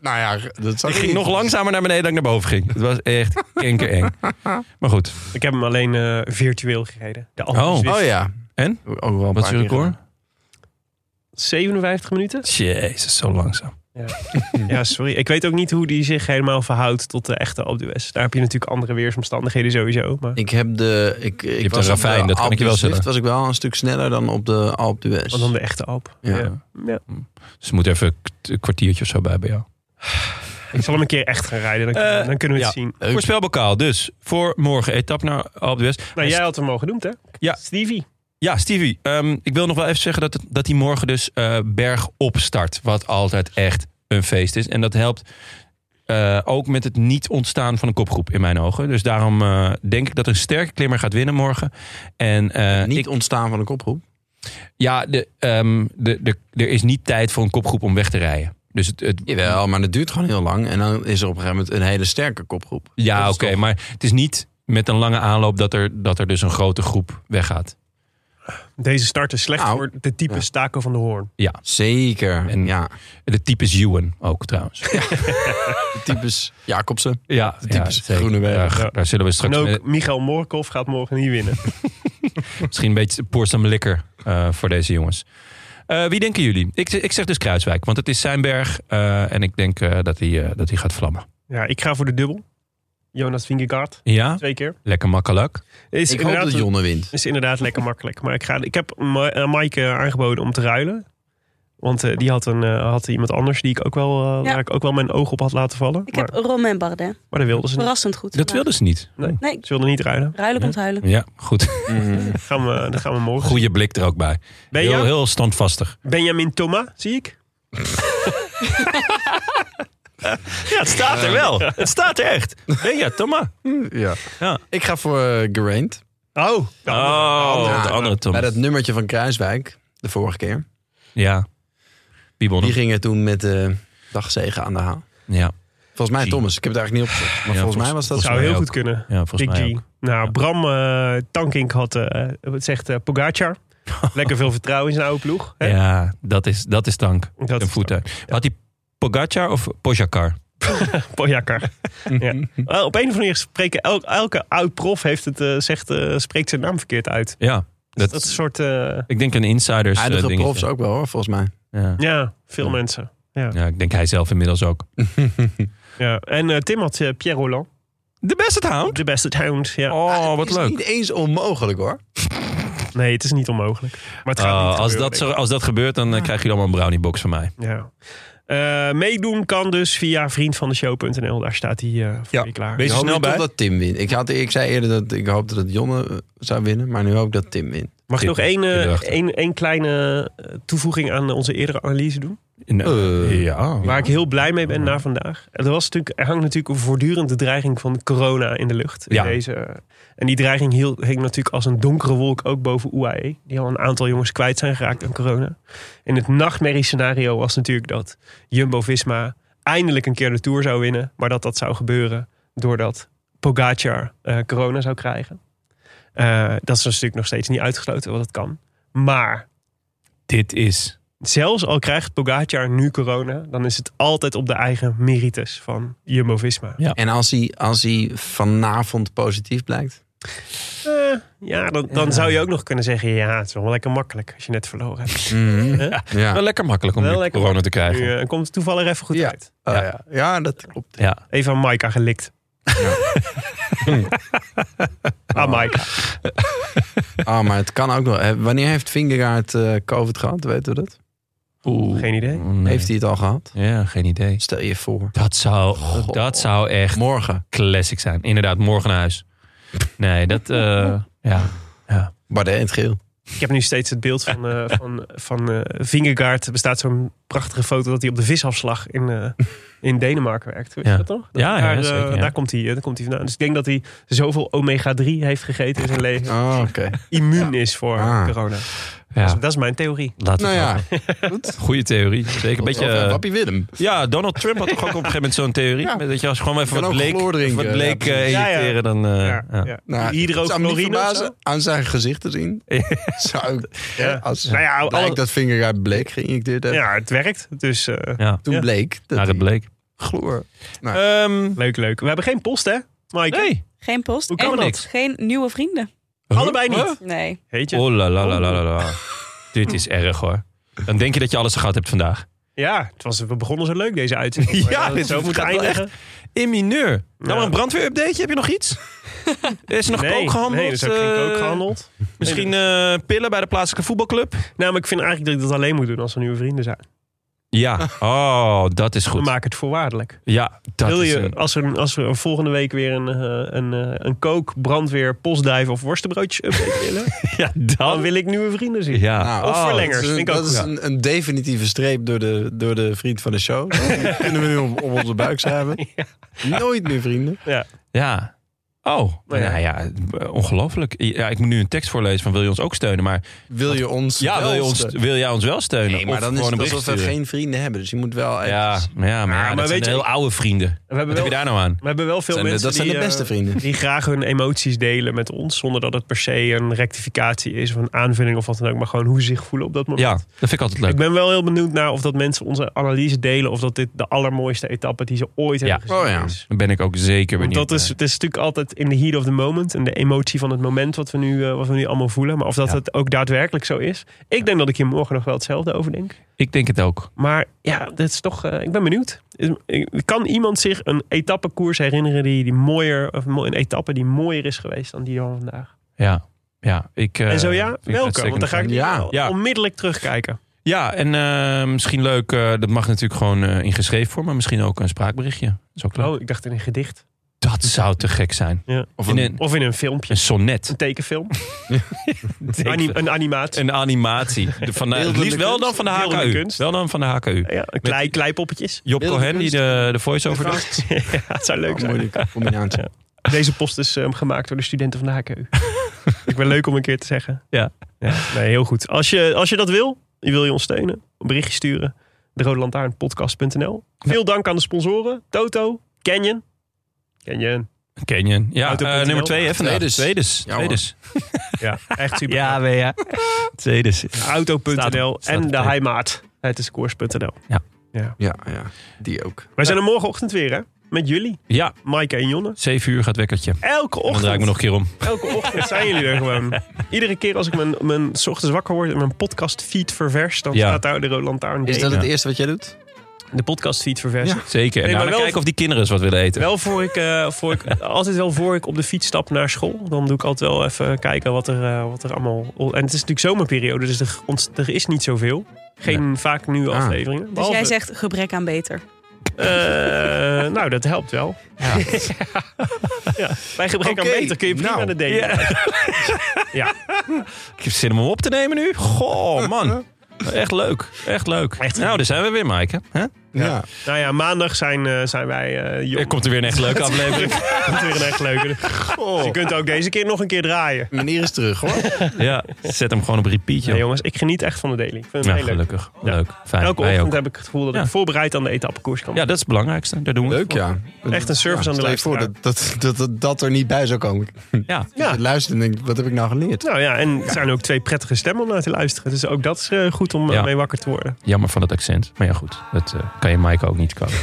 Speaker 6: Nou ja, dat zag
Speaker 1: Ik
Speaker 6: ik
Speaker 1: ging
Speaker 6: niet.
Speaker 1: nog langzamer naar beneden dan ik naar boven ging. Het was echt kankereng. Maar goed.
Speaker 2: Ik heb hem alleen eh, virtueel gereden. De Alpe
Speaker 1: Oh.
Speaker 2: d'Huez.
Speaker 6: Oh ja.
Speaker 1: En?
Speaker 6: Ook wel een
Speaker 1: Wat is
Speaker 6: paar
Speaker 1: je
Speaker 6: keer
Speaker 1: record?
Speaker 6: gedaan.
Speaker 2: 57 minuten?
Speaker 1: Jezus, zo langzaam.
Speaker 2: Ja, sorry. Ik weet ook niet hoe die zich helemaal verhoudt tot de echte Alpe d'Huez. Daar heb je natuurlijk andere weersomstandigheden sowieso. Maar
Speaker 6: Ik heb de... Ik, ik
Speaker 1: hebt
Speaker 6: was
Speaker 1: een
Speaker 6: op de
Speaker 1: ravijn, dat kan
Speaker 6: Alpe
Speaker 1: ik je wel
Speaker 6: d'Huez
Speaker 1: zeggen.
Speaker 6: was ik wel een stuk sneller dan op de Alpe d'Huez.
Speaker 2: wat dan de echte Alp.
Speaker 6: Ja.
Speaker 2: Ja.
Speaker 1: Dus er moet even een kwartiertje of zo bij bij jou.
Speaker 2: Ik zal hem een keer echt gaan rijden. Dan,
Speaker 1: Eh,
Speaker 2: dan kunnen we het
Speaker 1: ja.
Speaker 2: zien.
Speaker 6: Leuk.
Speaker 1: Voorspelbokaal dus. Voor morgen etappe naar Alpe d'Huez.
Speaker 2: Nou, jij had hem al genoemd, hè?
Speaker 1: Ja.
Speaker 2: Stevie.
Speaker 1: Ja, Stevie, ehm, ik wil nog wel even zeggen dat, het, dat hij morgen dus eh berg opstart. Wat altijd echt een feest is. En dat helpt eh, ook met het niet ontstaan van een kopgroep in mijn ogen. Dus daarom eh, denk ik dat een sterke klimmer gaat winnen morgen. En eh,
Speaker 6: Niet
Speaker 1: ik,
Speaker 6: ontstaan van een kopgroep.
Speaker 1: ja, de, ehm, de, de, er is niet tijd voor een kopgroep om weg te rijden. Dus het, het,
Speaker 6: Jawel, maar dat duurt gewoon heel lang. En dan is er op een gegeven moment een hele sterke kopgroep.
Speaker 1: ja,
Speaker 6: Dat
Speaker 1: oké,
Speaker 6: is toch-
Speaker 1: maar het is niet met een lange aanloop dat er, dat er dus een grote groep weggaat.
Speaker 2: Deze start is slecht
Speaker 6: Nou,
Speaker 2: voor de type
Speaker 6: ja.
Speaker 2: Staco van de Hoorn.
Speaker 6: Zeker.
Speaker 1: En-
Speaker 6: ja.
Speaker 1: De type is Ewan ook trouwens.
Speaker 6: Types Jacobsen.
Speaker 1: Ja,
Speaker 6: typisch
Speaker 1: zeker. Eh,
Speaker 6: Groeneweg.
Speaker 1: Daar, daar zullen we straks
Speaker 2: En
Speaker 1: mee-
Speaker 2: ook Michael Morkov gaat morgen niet winnen.
Speaker 1: Misschien een beetje pour some liquor eh, voor deze jongens. Eh, wie denken jullie? Ik, ik zeg dus Kruiswijk, want het is zijn berg. eh, en ik denk eh, dat hij eh, dat hij gaat vlammen.
Speaker 2: Ja, ik ga voor de dubbel. Jonas Vingegaard.
Speaker 1: Ja,
Speaker 2: Twee keer.
Speaker 1: lekker makkelijk.
Speaker 2: Is
Speaker 6: Ik hoop dat Jonne wint.
Speaker 2: is inderdaad lekker makkelijk. Maar ik, ga, ik heb Ma- eh, Maaike aangeboden om te ruilen. Want eh, die had, een, eh, had iemand anders die ik ook wel, eh,
Speaker 3: Ja.
Speaker 2: waar ik ook wel mijn oog op had laten vallen.
Speaker 3: Ik
Speaker 2: maar,
Speaker 3: heb Romain Bardet.
Speaker 2: maar dat wilde ze niet.
Speaker 3: Verrassend goed.
Speaker 1: Dat wilden ze niet.
Speaker 3: Nee,
Speaker 2: Ze wilde niet ruilen.
Speaker 3: ruilen komt huilen.
Speaker 1: Ja, goed.
Speaker 2: Dan gaan we, dan gaan we morgen.
Speaker 1: Goede blik er ook bij.
Speaker 2: Ben
Speaker 1: Heel,
Speaker 2: je-
Speaker 1: heel standvastig.
Speaker 2: Benjamin Thoma, zie ik.
Speaker 1: Ja, het staat er wel. Het staat er echt. Nee, ja, Thomas.
Speaker 6: Ja.
Speaker 1: Ja.
Speaker 6: Ik ga voor eh, Geraint.
Speaker 2: Oh,
Speaker 1: Oh,
Speaker 6: Ja,
Speaker 1: de andere
Speaker 6: Bij
Speaker 1: Thomas.
Speaker 6: dat nummertje van Kruiswijk, de vorige keer.
Speaker 1: Ja. Wie won
Speaker 6: Die
Speaker 1: hem?
Speaker 6: gingen toen met de dagzegen aan de haal.
Speaker 1: Ja,
Speaker 6: Volgens mij
Speaker 1: G.
Speaker 6: Thomas. Ik heb het eigenlijk niet opgezocht. Maar
Speaker 1: Ja, volgens-
Speaker 6: volgens mij was dat
Speaker 2: zou
Speaker 1: mij
Speaker 2: heel
Speaker 1: ook.
Speaker 2: goed kunnen.
Speaker 1: ja volgens
Speaker 2: Big
Speaker 1: mij
Speaker 2: G.
Speaker 1: ook.
Speaker 2: Nou,
Speaker 1: Ja.
Speaker 2: Bram eh, Tankink had, eh, wat zegt eh, Pogacar. Lekker veel vertrouwen in zijn oude ploeg. hè?
Speaker 1: Ja, dat is, dat is tank.
Speaker 2: Dat
Speaker 1: Een
Speaker 2: is-
Speaker 1: voet uit. Had hij Pogacar of Pojakar?
Speaker 2: Pogacar. ja. Wel, Op een of andere manier spreken elke, elke oud prof heeft het, eh, zegt, eh, spreekt zijn naam verkeerd uit.
Speaker 1: Ja,
Speaker 2: Dat,
Speaker 1: dat,
Speaker 2: dat is een soort, eh,
Speaker 1: ik denk een insiders eh,
Speaker 6: Huidige
Speaker 1: dingetje. Oh,
Speaker 6: profs ook wel hoor, volgens mij.
Speaker 1: Ja.
Speaker 2: ja, veel mensen.
Speaker 1: ja, ik denk hij zelf inmiddels ook.
Speaker 2: Ja. En eh, Tim had eh, Pierre Roland,
Speaker 1: De beste hound.
Speaker 2: de beste hound. Ja.
Speaker 1: Oh, wat
Speaker 6: Ah, Is
Speaker 1: leuk.
Speaker 6: niet eens onmogelijk hoor.
Speaker 2: Nee, het is niet onmogelijk. Maar het gaat
Speaker 1: Oh,
Speaker 2: niet
Speaker 1: als, dat
Speaker 2: gebeuren,
Speaker 1: zo, als dat gebeurt, dan eh, krijgen jullie allemaal een brownie box van mij.
Speaker 2: denk ik. Ja. Eh, meedoen kan dus via vriendvandeshow.nl. Daar staat hij eh, voor
Speaker 1: Ja,
Speaker 2: je klaar.
Speaker 1: wees- Is
Speaker 6: Ik
Speaker 1: er
Speaker 6: hoop
Speaker 1: snel
Speaker 6: nu toch
Speaker 1: bij?
Speaker 6: dat Tim wint. Ik, had, ik zei eerder dat ik hoopte dat Jonne eh, zou winnen. Maar nu hoop ik dat Tim wint.
Speaker 2: Mag ik nog één, eh,
Speaker 1: Iedere dag.
Speaker 2: één, één kleine eh, toevoeging aan onze eerdere analyse doen?
Speaker 1: Nou,
Speaker 6: Eh,
Speaker 1: ja.
Speaker 2: Waar ik heel blij mee ben na vandaag. Er, was natuurlijk, er hangt natuurlijk een voortdurende dreiging van corona in de lucht. In
Speaker 1: Ja.
Speaker 2: Deze, eh, en die dreiging hiel, hing natuurlijk als een donkere wolk ook boven UAE. Die al een aantal jongens kwijt zijn geraakt aan corona. En het nachtmerrie scenario was natuurlijk dat Jumbo-Visma eindelijk een keer de Tour zou winnen. Maar dat dat zou gebeuren doordat Pogacar eh, corona zou krijgen. Eh, dat is natuurlijk nog steeds niet uitgesloten, want dat kan. Maar
Speaker 1: Dit is.
Speaker 2: zelfs al krijgt Pogacar nu corona, dan is het altijd op de eigen merites van Jumbo-Visma.
Speaker 1: Ja.
Speaker 6: En als hij, als hij vanavond positief blijkt.
Speaker 2: Eh, ja, dan, dan zou je ook nog kunnen zeggen... ja, het is wel lekker makkelijk als je net verloren hebt.
Speaker 6: Mhm.
Speaker 2: Hè?
Speaker 6: Ja.
Speaker 1: Wel lekker makkelijk om
Speaker 2: Wel
Speaker 1: nu
Speaker 2: lekker
Speaker 1: corona te krijgen.
Speaker 2: Nu eh, komt het toevallig even goed uit.
Speaker 6: Oh, ja. ja, dat klopt.
Speaker 1: Ja.
Speaker 2: Even aan Maika gelikt. ah, Maika.
Speaker 6: Ah, maar het kan ook nog. Hè, Wanneer heeft Vingegaard eh, COVID gehad? Weten we dat?
Speaker 1: Oeh.
Speaker 2: Geen idee.
Speaker 1: Nee.
Speaker 6: Heeft hij het al gehad?
Speaker 1: Ja, geen idee.
Speaker 6: Stel je voor.
Speaker 1: Dat zou, dat zou echt
Speaker 6: Morgen.
Speaker 1: classic zijn. Inderdaad, morgen naar huis. Nee, dat... eh, ja.
Speaker 6: Bardet in het geel.
Speaker 2: Ik heb nu steeds het beeld van, eh van, van eh, Vingegaard. Er bestaat zo'n prachtige foto dat hij op de visafslag in, eh, in Denemarken werkt. Weet
Speaker 1: Ja.
Speaker 2: je dat toch? Dat
Speaker 1: Ja, ja,
Speaker 2: daar, eh,
Speaker 1: zeker, ja.
Speaker 2: daar komt hij, eh, daar komt hij vandaan. Dus ik denk dat hij zoveel omega-3 heeft gegeten in zijn leven.
Speaker 6: Oh, oké.
Speaker 2: Immuun is voor
Speaker 6: Ah.
Speaker 2: corona. Dus
Speaker 1: ja.
Speaker 2: dat is mijn theorie.
Speaker 1: Laten we
Speaker 6: Nou ja,
Speaker 1: het Goede theorie. Zeker een beetje... eh,
Speaker 6: Papi Willem.
Speaker 1: Ja, Donald Trump had toch ook op een gegeven moment zo'n theorie.
Speaker 6: Ja.
Speaker 1: Dat je als je gewoon even
Speaker 6: Kan
Speaker 1: wat
Speaker 6: ook
Speaker 1: bleek,
Speaker 6: chloor drinken.
Speaker 1: wat bleek
Speaker 6: Ja,
Speaker 1: eh,
Speaker 2: precies.
Speaker 1: injecteren, dan... eh,
Speaker 2: Ja,
Speaker 1: ja.
Speaker 2: ja.
Speaker 6: Nou, het zou me niet
Speaker 2: Hydrochlorine of
Speaker 6: verbazen
Speaker 2: zo?
Speaker 6: aan zijn gezicht te zien. zou ik,
Speaker 2: Ja.
Speaker 6: Als
Speaker 2: Nou ja,
Speaker 6: blijkt
Speaker 2: alle-
Speaker 6: dat Vingegaard bleek geïnjecteerd heeft.
Speaker 2: ja, het werkt. Dus eh,
Speaker 1: Ja,
Speaker 6: Toen
Speaker 2: Ja.
Speaker 6: bleek dat
Speaker 1: naar het
Speaker 6: hij
Speaker 1: bleek.
Speaker 6: chloor.
Speaker 1: Ehm,
Speaker 2: leuk, leuk. We hebben geen post, hè? Mike,
Speaker 1: nee.
Speaker 3: Geen post
Speaker 2: Hoe kan
Speaker 3: en
Speaker 2: dat?
Speaker 3: geen nieuwe vrienden.
Speaker 2: allebei
Speaker 1: Huh?
Speaker 2: niet.
Speaker 3: Nee. Dus
Speaker 2: Heet je?
Speaker 1: Oh la la la la la la. Dit is erg hoor. Dan denk je dat je alles gehad hebt vandaag.
Speaker 2: Ja, het was, we begonnen zo leuk deze uitzending.
Speaker 1: Ja,
Speaker 2: Maar
Speaker 1: dit
Speaker 2: dat het zo
Speaker 1: gaat
Speaker 2: moet
Speaker 1: wel
Speaker 2: eindigen.
Speaker 1: In mineur.
Speaker 2: Ja.
Speaker 1: Nou, een brandweerupdateje. Heb je nog iets? Er is nog kook gehandeld.
Speaker 2: Nee, er is ook geen
Speaker 1: eh,
Speaker 2: kook gehandeld.
Speaker 1: Misschien eh, pillen bij de plaatselijke voetbalclub?
Speaker 2: Nou, maar ik vind eigenlijk dat ik dat alleen moet doen als we nieuwe vrienden zijn.
Speaker 1: Ja. Oh, dat is
Speaker 2: We
Speaker 1: goed.
Speaker 2: maken het voorwaardelijk.
Speaker 1: Ja, dat
Speaker 2: Wil
Speaker 1: is
Speaker 6: eh,
Speaker 2: je,
Speaker 1: een-
Speaker 2: als, er, als we volgende week weer een, eh, een, eh, een kook, brandweer, postduif of worstenbroodjes update willen,
Speaker 1: Ja,
Speaker 2: dan
Speaker 1: dan...
Speaker 2: wil ik nieuwe vrienden zien.
Speaker 1: Ja.
Speaker 6: Nou,
Speaker 2: Of verlengers,
Speaker 6: Dat is, een,
Speaker 2: vind ik ook
Speaker 6: dat is
Speaker 2: goed.
Speaker 6: een, een definitieve streep door de, door de vriend van de show. Die kunnen we nu op, op onze buik schrijven. Nooit meer vrienden.
Speaker 1: Ja. Oh,
Speaker 2: Nou ja.
Speaker 1: nou ja, eh, ongelooflijk. Ja, ik moet nu een tekst voorlezen van wil je ons ook steunen? Maar
Speaker 6: Wil je ons
Speaker 1: ja, wil, je
Speaker 6: wel
Speaker 1: ons,
Speaker 6: steunen?
Speaker 1: wil jij ons wel steunen?
Speaker 6: Nee, maar
Speaker 1: Of
Speaker 6: dan is
Speaker 1: gewoon
Speaker 6: het
Speaker 1: een
Speaker 6: alsof
Speaker 1: bericht
Speaker 6: we
Speaker 1: sturen?
Speaker 6: geen vrienden hebben. Dus je moet wel even...
Speaker 1: Ja, maar ja, maar, ja,
Speaker 2: maar
Speaker 1: dat
Speaker 2: weet
Speaker 1: zijn
Speaker 2: je-
Speaker 1: heel oude vrienden.
Speaker 2: We hebben
Speaker 1: Wat heb
Speaker 2: wel,
Speaker 1: je daar nou aan?
Speaker 2: we hebben wel veel
Speaker 6: Zijn de-
Speaker 2: mensen
Speaker 6: dat zijn
Speaker 2: die,
Speaker 6: de
Speaker 2: eh,
Speaker 6: beste vrienden.
Speaker 2: die graag hun emoties delen met ons, zonder dat het per se een rectificatie is of een aanvulling of wat dan ook, maar gewoon hoe ze zich voelen op dat moment.
Speaker 1: Ja, dat vind ik altijd
Speaker 2: Ik
Speaker 1: leuk.
Speaker 2: ben wel heel benieuwd naar of dat mensen onze analyse delen of dat dit de allermooiste etappe die ze ooit
Speaker 1: Ja.
Speaker 2: hebben gezien
Speaker 6: Oh ja.
Speaker 2: is.
Speaker 1: Daar ben ik ook zeker
Speaker 2: Want
Speaker 1: benieuwd.
Speaker 2: Dat is,
Speaker 1: naar.
Speaker 2: het is natuurlijk altijd in the heat of the moment. En de emotie van het moment wat we nu, eh, wat we nu allemaal voelen. Maar of dat
Speaker 1: Ja.
Speaker 2: het ook daadwerkelijk zo is. Ik denk dat ik hier morgen nog wel hetzelfde over denk.
Speaker 1: Ik denk het ook.
Speaker 2: Maar ja, dat is toch, eh, ik ben benieuwd. Is- eh, Kan iemand zich een etappekoers herinneren die, die mooier, of mo- een etappe die mooier is geweest dan die van vandaag?
Speaker 1: Ja, ja. Ik, eh,
Speaker 2: en zo ja,
Speaker 1: vind het
Speaker 2: welke?
Speaker 1: hartstikke
Speaker 2: Want dan ga ik
Speaker 6: leuk. Ja,
Speaker 2: wel
Speaker 1: ja.
Speaker 2: onmiddellijk terugkijken.
Speaker 1: Ja, en eh, misschien leuk, eh, dat mag natuurlijk gewoon eh, in geschreven vorm, maar misschien ook een spraakberichtje. Dat is ook leuk.
Speaker 2: Oh, ik dacht in een gedicht.
Speaker 1: Dat zou te gek zijn.
Speaker 2: Ja.
Speaker 1: Of een, een,
Speaker 2: Of in een filmpje.
Speaker 1: sonnet.
Speaker 2: Een tekenfilm.
Speaker 1: Denk
Speaker 2: Anim-
Speaker 1: ik.
Speaker 2: een animatie.
Speaker 1: Een animatie. De- Van de, het
Speaker 6: Beeldende
Speaker 1: liefst wel
Speaker 6: kunst.
Speaker 1: dan van de
Speaker 2: Beeldende
Speaker 1: HKU.
Speaker 2: kunst.
Speaker 1: Wel dan van de HKU.
Speaker 2: ja, klei, kleipoppetjes.
Speaker 1: Job
Speaker 6: Beeldende
Speaker 1: Cohen, die
Speaker 6: kunst.
Speaker 1: de, de voice-over doet.
Speaker 2: ja, het zou
Speaker 1: Oh,
Speaker 2: leuk
Speaker 6: Een
Speaker 2: zijn.
Speaker 6: moeilijke combinatie.
Speaker 2: Deze post is eh, gemaakt door de studenten van de HKU. Ik ben leuk om een keer te zeggen.
Speaker 1: Ja.
Speaker 2: nee, heel goed. Als je, als je dat wil, je wil je ons steunen, een berichtje sturen. De Rode Veel dank aan de sponsoren. Toto, Canyon. Canyon.
Speaker 1: Canyon. Ja,
Speaker 2: Auto.nl.
Speaker 1: eh, nummer twee hè, vandaag.
Speaker 6: Tweedes.
Speaker 1: Tweedes.
Speaker 6: Ja, hoor.
Speaker 1: Tweedes.
Speaker 2: Ja, echt super.
Speaker 1: Ja, ben je. Tweedes. Staat
Speaker 2: Auto.nl
Speaker 1: op- staat
Speaker 2: en
Speaker 1: op
Speaker 2: de
Speaker 1: tape.
Speaker 2: Heimaat. Het is koers.nl.
Speaker 6: Ja, ja, die ook.
Speaker 2: Wij zijn er morgenochtend weer, hè? Met jullie,
Speaker 1: Ja,
Speaker 2: Maaike en Jonne.
Speaker 1: 7 uur gaat wekkertje.
Speaker 2: Elke
Speaker 1: Dan
Speaker 2: ochtend.
Speaker 1: draai ik me nog een keer om.
Speaker 2: Elke ochtend zijn jullie er gewoon. Iedere keer als ik mijn, mijn 's ochtends wakker word en mijn podcastfeed ververs, dan
Speaker 1: Ja.
Speaker 2: staat daar de Rode Lantaarn.
Speaker 6: Is
Speaker 2: Day.
Speaker 6: dat het
Speaker 1: Ja.
Speaker 6: eerste wat jij doet?
Speaker 2: De podcastfeed verversen.
Speaker 1: Zeker. En
Speaker 2: Nee,
Speaker 1: nou,
Speaker 2: maar
Speaker 1: dan
Speaker 2: wel-
Speaker 1: kijken of die kinderen eens wat willen eten.
Speaker 2: Wel voor ik, eh, voor ik, altijd wel voor ik op de fiets stap naar school. Dan doe ik altijd wel even kijken wat er, eh, wat er allemaal... En het is natuurlijk zomerperiode, dus er, ont- er is niet zoveel. Geen vaak nieuwe
Speaker 6: Ah.
Speaker 2: afleveringen.
Speaker 3: Dus
Speaker 2: Behalve-
Speaker 3: jij zegt gebrek aan beter.
Speaker 2: Eh, nou, dat helpt wel. Ja. Bij gebrek
Speaker 6: Oké,
Speaker 2: aan beter kun je prima
Speaker 6: nou.
Speaker 2: naar de dating.
Speaker 1: Ja.
Speaker 2: Ja.
Speaker 1: Ik heb zin om hem op te nemen nu. Goh, man. Echt leuk. Echt leuk.
Speaker 2: Echt.
Speaker 1: Nou, daar zijn we weer, Maaike. Hè?
Speaker 6: Ja.
Speaker 2: Nou ja, maandag zijn, eh, zijn wij... eh jong.
Speaker 1: Er komt er weer een echt leuke aflevering.
Speaker 2: komt weer een echt leuke. Dus je kunt ook deze keer nog een keer draaien.
Speaker 6: Meneer is terug, hoor.
Speaker 1: Ja, zet hem gewoon op repeat,
Speaker 2: Nee,
Speaker 1: joh.
Speaker 2: jongens, ik geniet echt van de daily. Ik vind het
Speaker 1: Ja,
Speaker 2: heel leuk.
Speaker 1: gelukkig. Leuk. Fijn.
Speaker 2: Elke
Speaker 1: Wij
Speaker 2: ochtend
Speaker 1: ook.
Speaker 2: heb ik het gevoel dat
Speaker 1: Ja.
Speaker 2: ik voorbereid aan de etappekoers kan.
Speaker 1: Ja, dat is het belangrijkste. Daar doen we het
Speaker 6: Leuk, ja.
Speaker 2: Echt een service aan de
Speaker 6: Stel je
Speaker 2: luisteraar.
Speaker 6: voor dat dat, dat, dat dat er niet bij zou komen.
Speaker 1: Ja.
Speaker 2: Ja.
Speaker 6: Ja. Luister en denk, wat heb ik nou geleerd?
Speaker 2: Nou ja, en het zijn ook twee prettige stemmen om naar te luisteren. Dus ook dat is eh, goed om eh,
Speaker 1: Ja.
Speaker 2: mee wakker te worden.
Speaker 1: Jammer van dat accent. Maar ja, goed. Dat eh, kan je Maaike ook niet komen.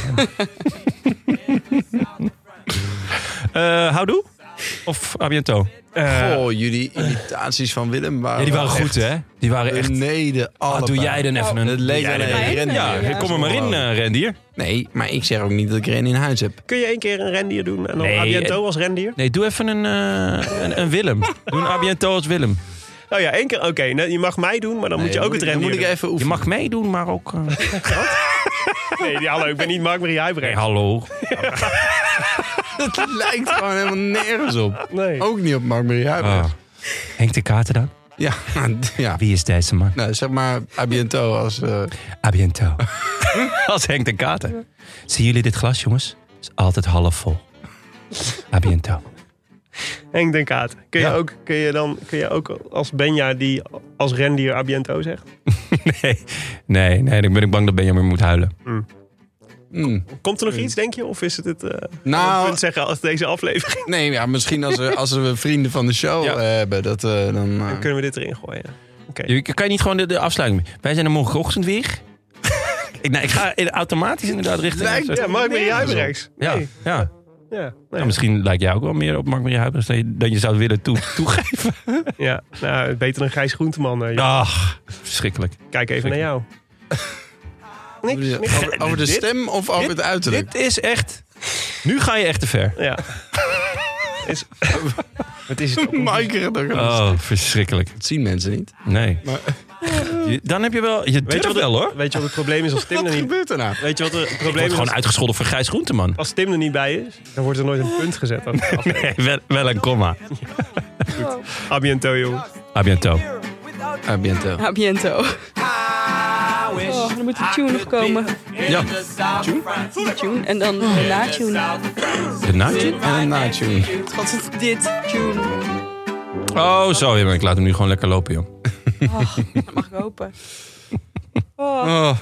Speaker 1: Eh houdoe? Of à bientôt?
Speaker 2: Eh,
Speaker 6: Goh, jullie imitaties van Willem waren
Speaker 1: Ja, die waren
Speaker 6: wel
Speaker 1: goed, hè? Die waren
Speaker 6: echt...
Speaker 1: echt...
Speaker 6: Nee, de
Speaker 1: Ah, doe jij dan even een...
Speaker 6: Oh, Het
Speaker 1: doe
Speaker 6: leek
Speaker 1: jij
Speaker 6: wel
Speaker 1: dan
Speaker 6: een
Speaker 1: even-
Speaker 3: even-
Speaker 6: rendier.
Speaker 1: Ja,
Speaker 3: Ja,
Speaker 1: kom er maar in, eh, rendier.
Speaker 6: Nee, maar ik zeg ook niet dat ik er een in huis heb.
Speaker 2: kun je één keer een rendier doen en dan
Speaker 1: Nee, eh,
Speaker 2: Abiento als rendier?
Speaker 1: Nee, doe even een, eh, een, een Willem. Doe een à bientôt als Willem.
Speaker 2: Oh ja, één keer. Oké, nou, je mag mij doen, maar dan moet je
Speaker 6: Nee,
Speaker 2: ook het
Speaker 6: Dan
Speaker 2: rendier
Speaker 6: moet ik
Speaker 2: doen.
Speaker 6: even
Speaker 1: Je
Speaker 6: oefenen.
Speaker 1: mag meedoen, maar ook... eh,
Speaker 2: Nee, ja, hallo, ik ben niet Mark-Marie
Speaker 1: Nee,
Speaker 2: Huibrecht.
Speaker 1: hallo.
Speaker 6: Dat lijkt gewoon helemaal nergens op.
Speaker 2: Nee.
Speaker 6: Ook niet op Mark Marie Huibrecht.
Speaker 1: Ah. Henk de Kater dan?
Speaker 6: Ja, ja.
Speaker 1: Wie is deze man?
Speaker 6: Nou, zeg maar à bientôt als... eh,
Speaker 1: A bientôt. Als Henk de Kater. Zien jullie dit glas, jongens? Het is altijd half vol. A bientôt.
Speaker 2: Henk Den Kaat. Kun je,
Speaker 1: Ja.
Speaker 2: ook, kun, je dan, kun je ook als Benja die als rendier Abiento zegt?
Speaker 1: Nee, nee, nee, dan ben ik bang dat Benjamin moet huilen.
Speaker 6: mm.
Speaker 2: Komt er nog iets, denk je? Of is het het eh,
Speaker 6: Nou-
Speaker 2: punt zeggen als deze aflevering?
Speaker 6: Nee, ja, misschien als we, als we vrienden van de show
Speaker 1: Ja.
Speaker 6: eh, hebben, dat, eh, dan... eh,
Speaker 2: Dan kunnen we dit erin gooien.
Speaker 1: Je- Kan je niet gewoon de, de afsluiting... Wij zijn er morgenochtend weer. ik, nee, ik ga in- automatisch inderdaad richting...
Speaker 6: Lijkt-
Speaker 2: Ja, Mark-Marie Huibrechts.
Speaker 1: Ja,
Speaker 2: Nee.
Speaker 1: ja.
Speaker 2: Ja,
Speaker 1: Nou,
Speaker 2: nou,
Speaker 1: misschien lijkt jij ook wel meer op Mark Marie Huibers dan je, dan je zou willen toe, toegeven.
Speaker 2: ja. Nou, beter dan Gijs Groenteman. eh, joh.
Speaker 1: Ach, verschrikkelijk.
Speaker 2: Kijk even naar jou. niks, niks.
Speaker 6: Over, over de
Speaker 1: Dit-
Speaker 6: stem of over het uiterlijk?
Speaker 1: Dit is echt... Nu ga je echt te ver.
Speaker 2: Ja. Is, wat is het? ook?
Speaker 6: Maaike, dat
Speaker 1: Oh, verschrikkelijk.
Speaker 6: dat zien mensen niet.
Speaker 1: Nee. Je- dan heb je wel... Je
Speaker 2: Weet
Speaker 1: durft
Speaker 2: je, wat
Speaker 1: wel, hoor.
Speaker 2: het, weet je wat het probleem is als Tim er
Speaker 6: Wat
Speaker 2: niet...
Speaker 6: gebeurt er nou?
Speaker 2: Weet je wat het
Speaker 1: Ik
Speaker 2: probleem
Speaker 1: word
Speaker 2: is
Speaker 1: gewoon
Speaker 2: als,
Speaker 1: uitgescholden voor Gijs Groenteman.
Speaker 2: als Tim er niet bij is? Dan wordt er nooit een punt gezet. aan de aflevering.
Speaker 1: Nee, wel, wel een komma.
Speaker 2: Abiento, joh.
Speaker 1: A bientôt.
Speaker 6: Ah, bientôt.
Speaker 3: A biento.
Speaker 5: I wish
Speaker 3: Oh, dan moet de
Speaker 5: I
Speaker 3: tune
Speaker 5: could
Speaker 3: nog komen.
Speaker 5: be in
Speaker 1: Ja.
Speaker 5: the south of France.
Speaker 3: De tune. En dan de na-tune.
Speaker 5: South of France.
Speaker 1: De naadje?
Speaker 6: En een na-tune.
Speaker 3: God, het is dit tune.
Speaker 1: Oh, zo.
Speaker 3: Oh,
Speaker 1: ja, maar ik laat hem nu gewoon lekker lopen, joh.
Speaker 3: Mag ik hopen. Oh,
Speaker 1: Oh,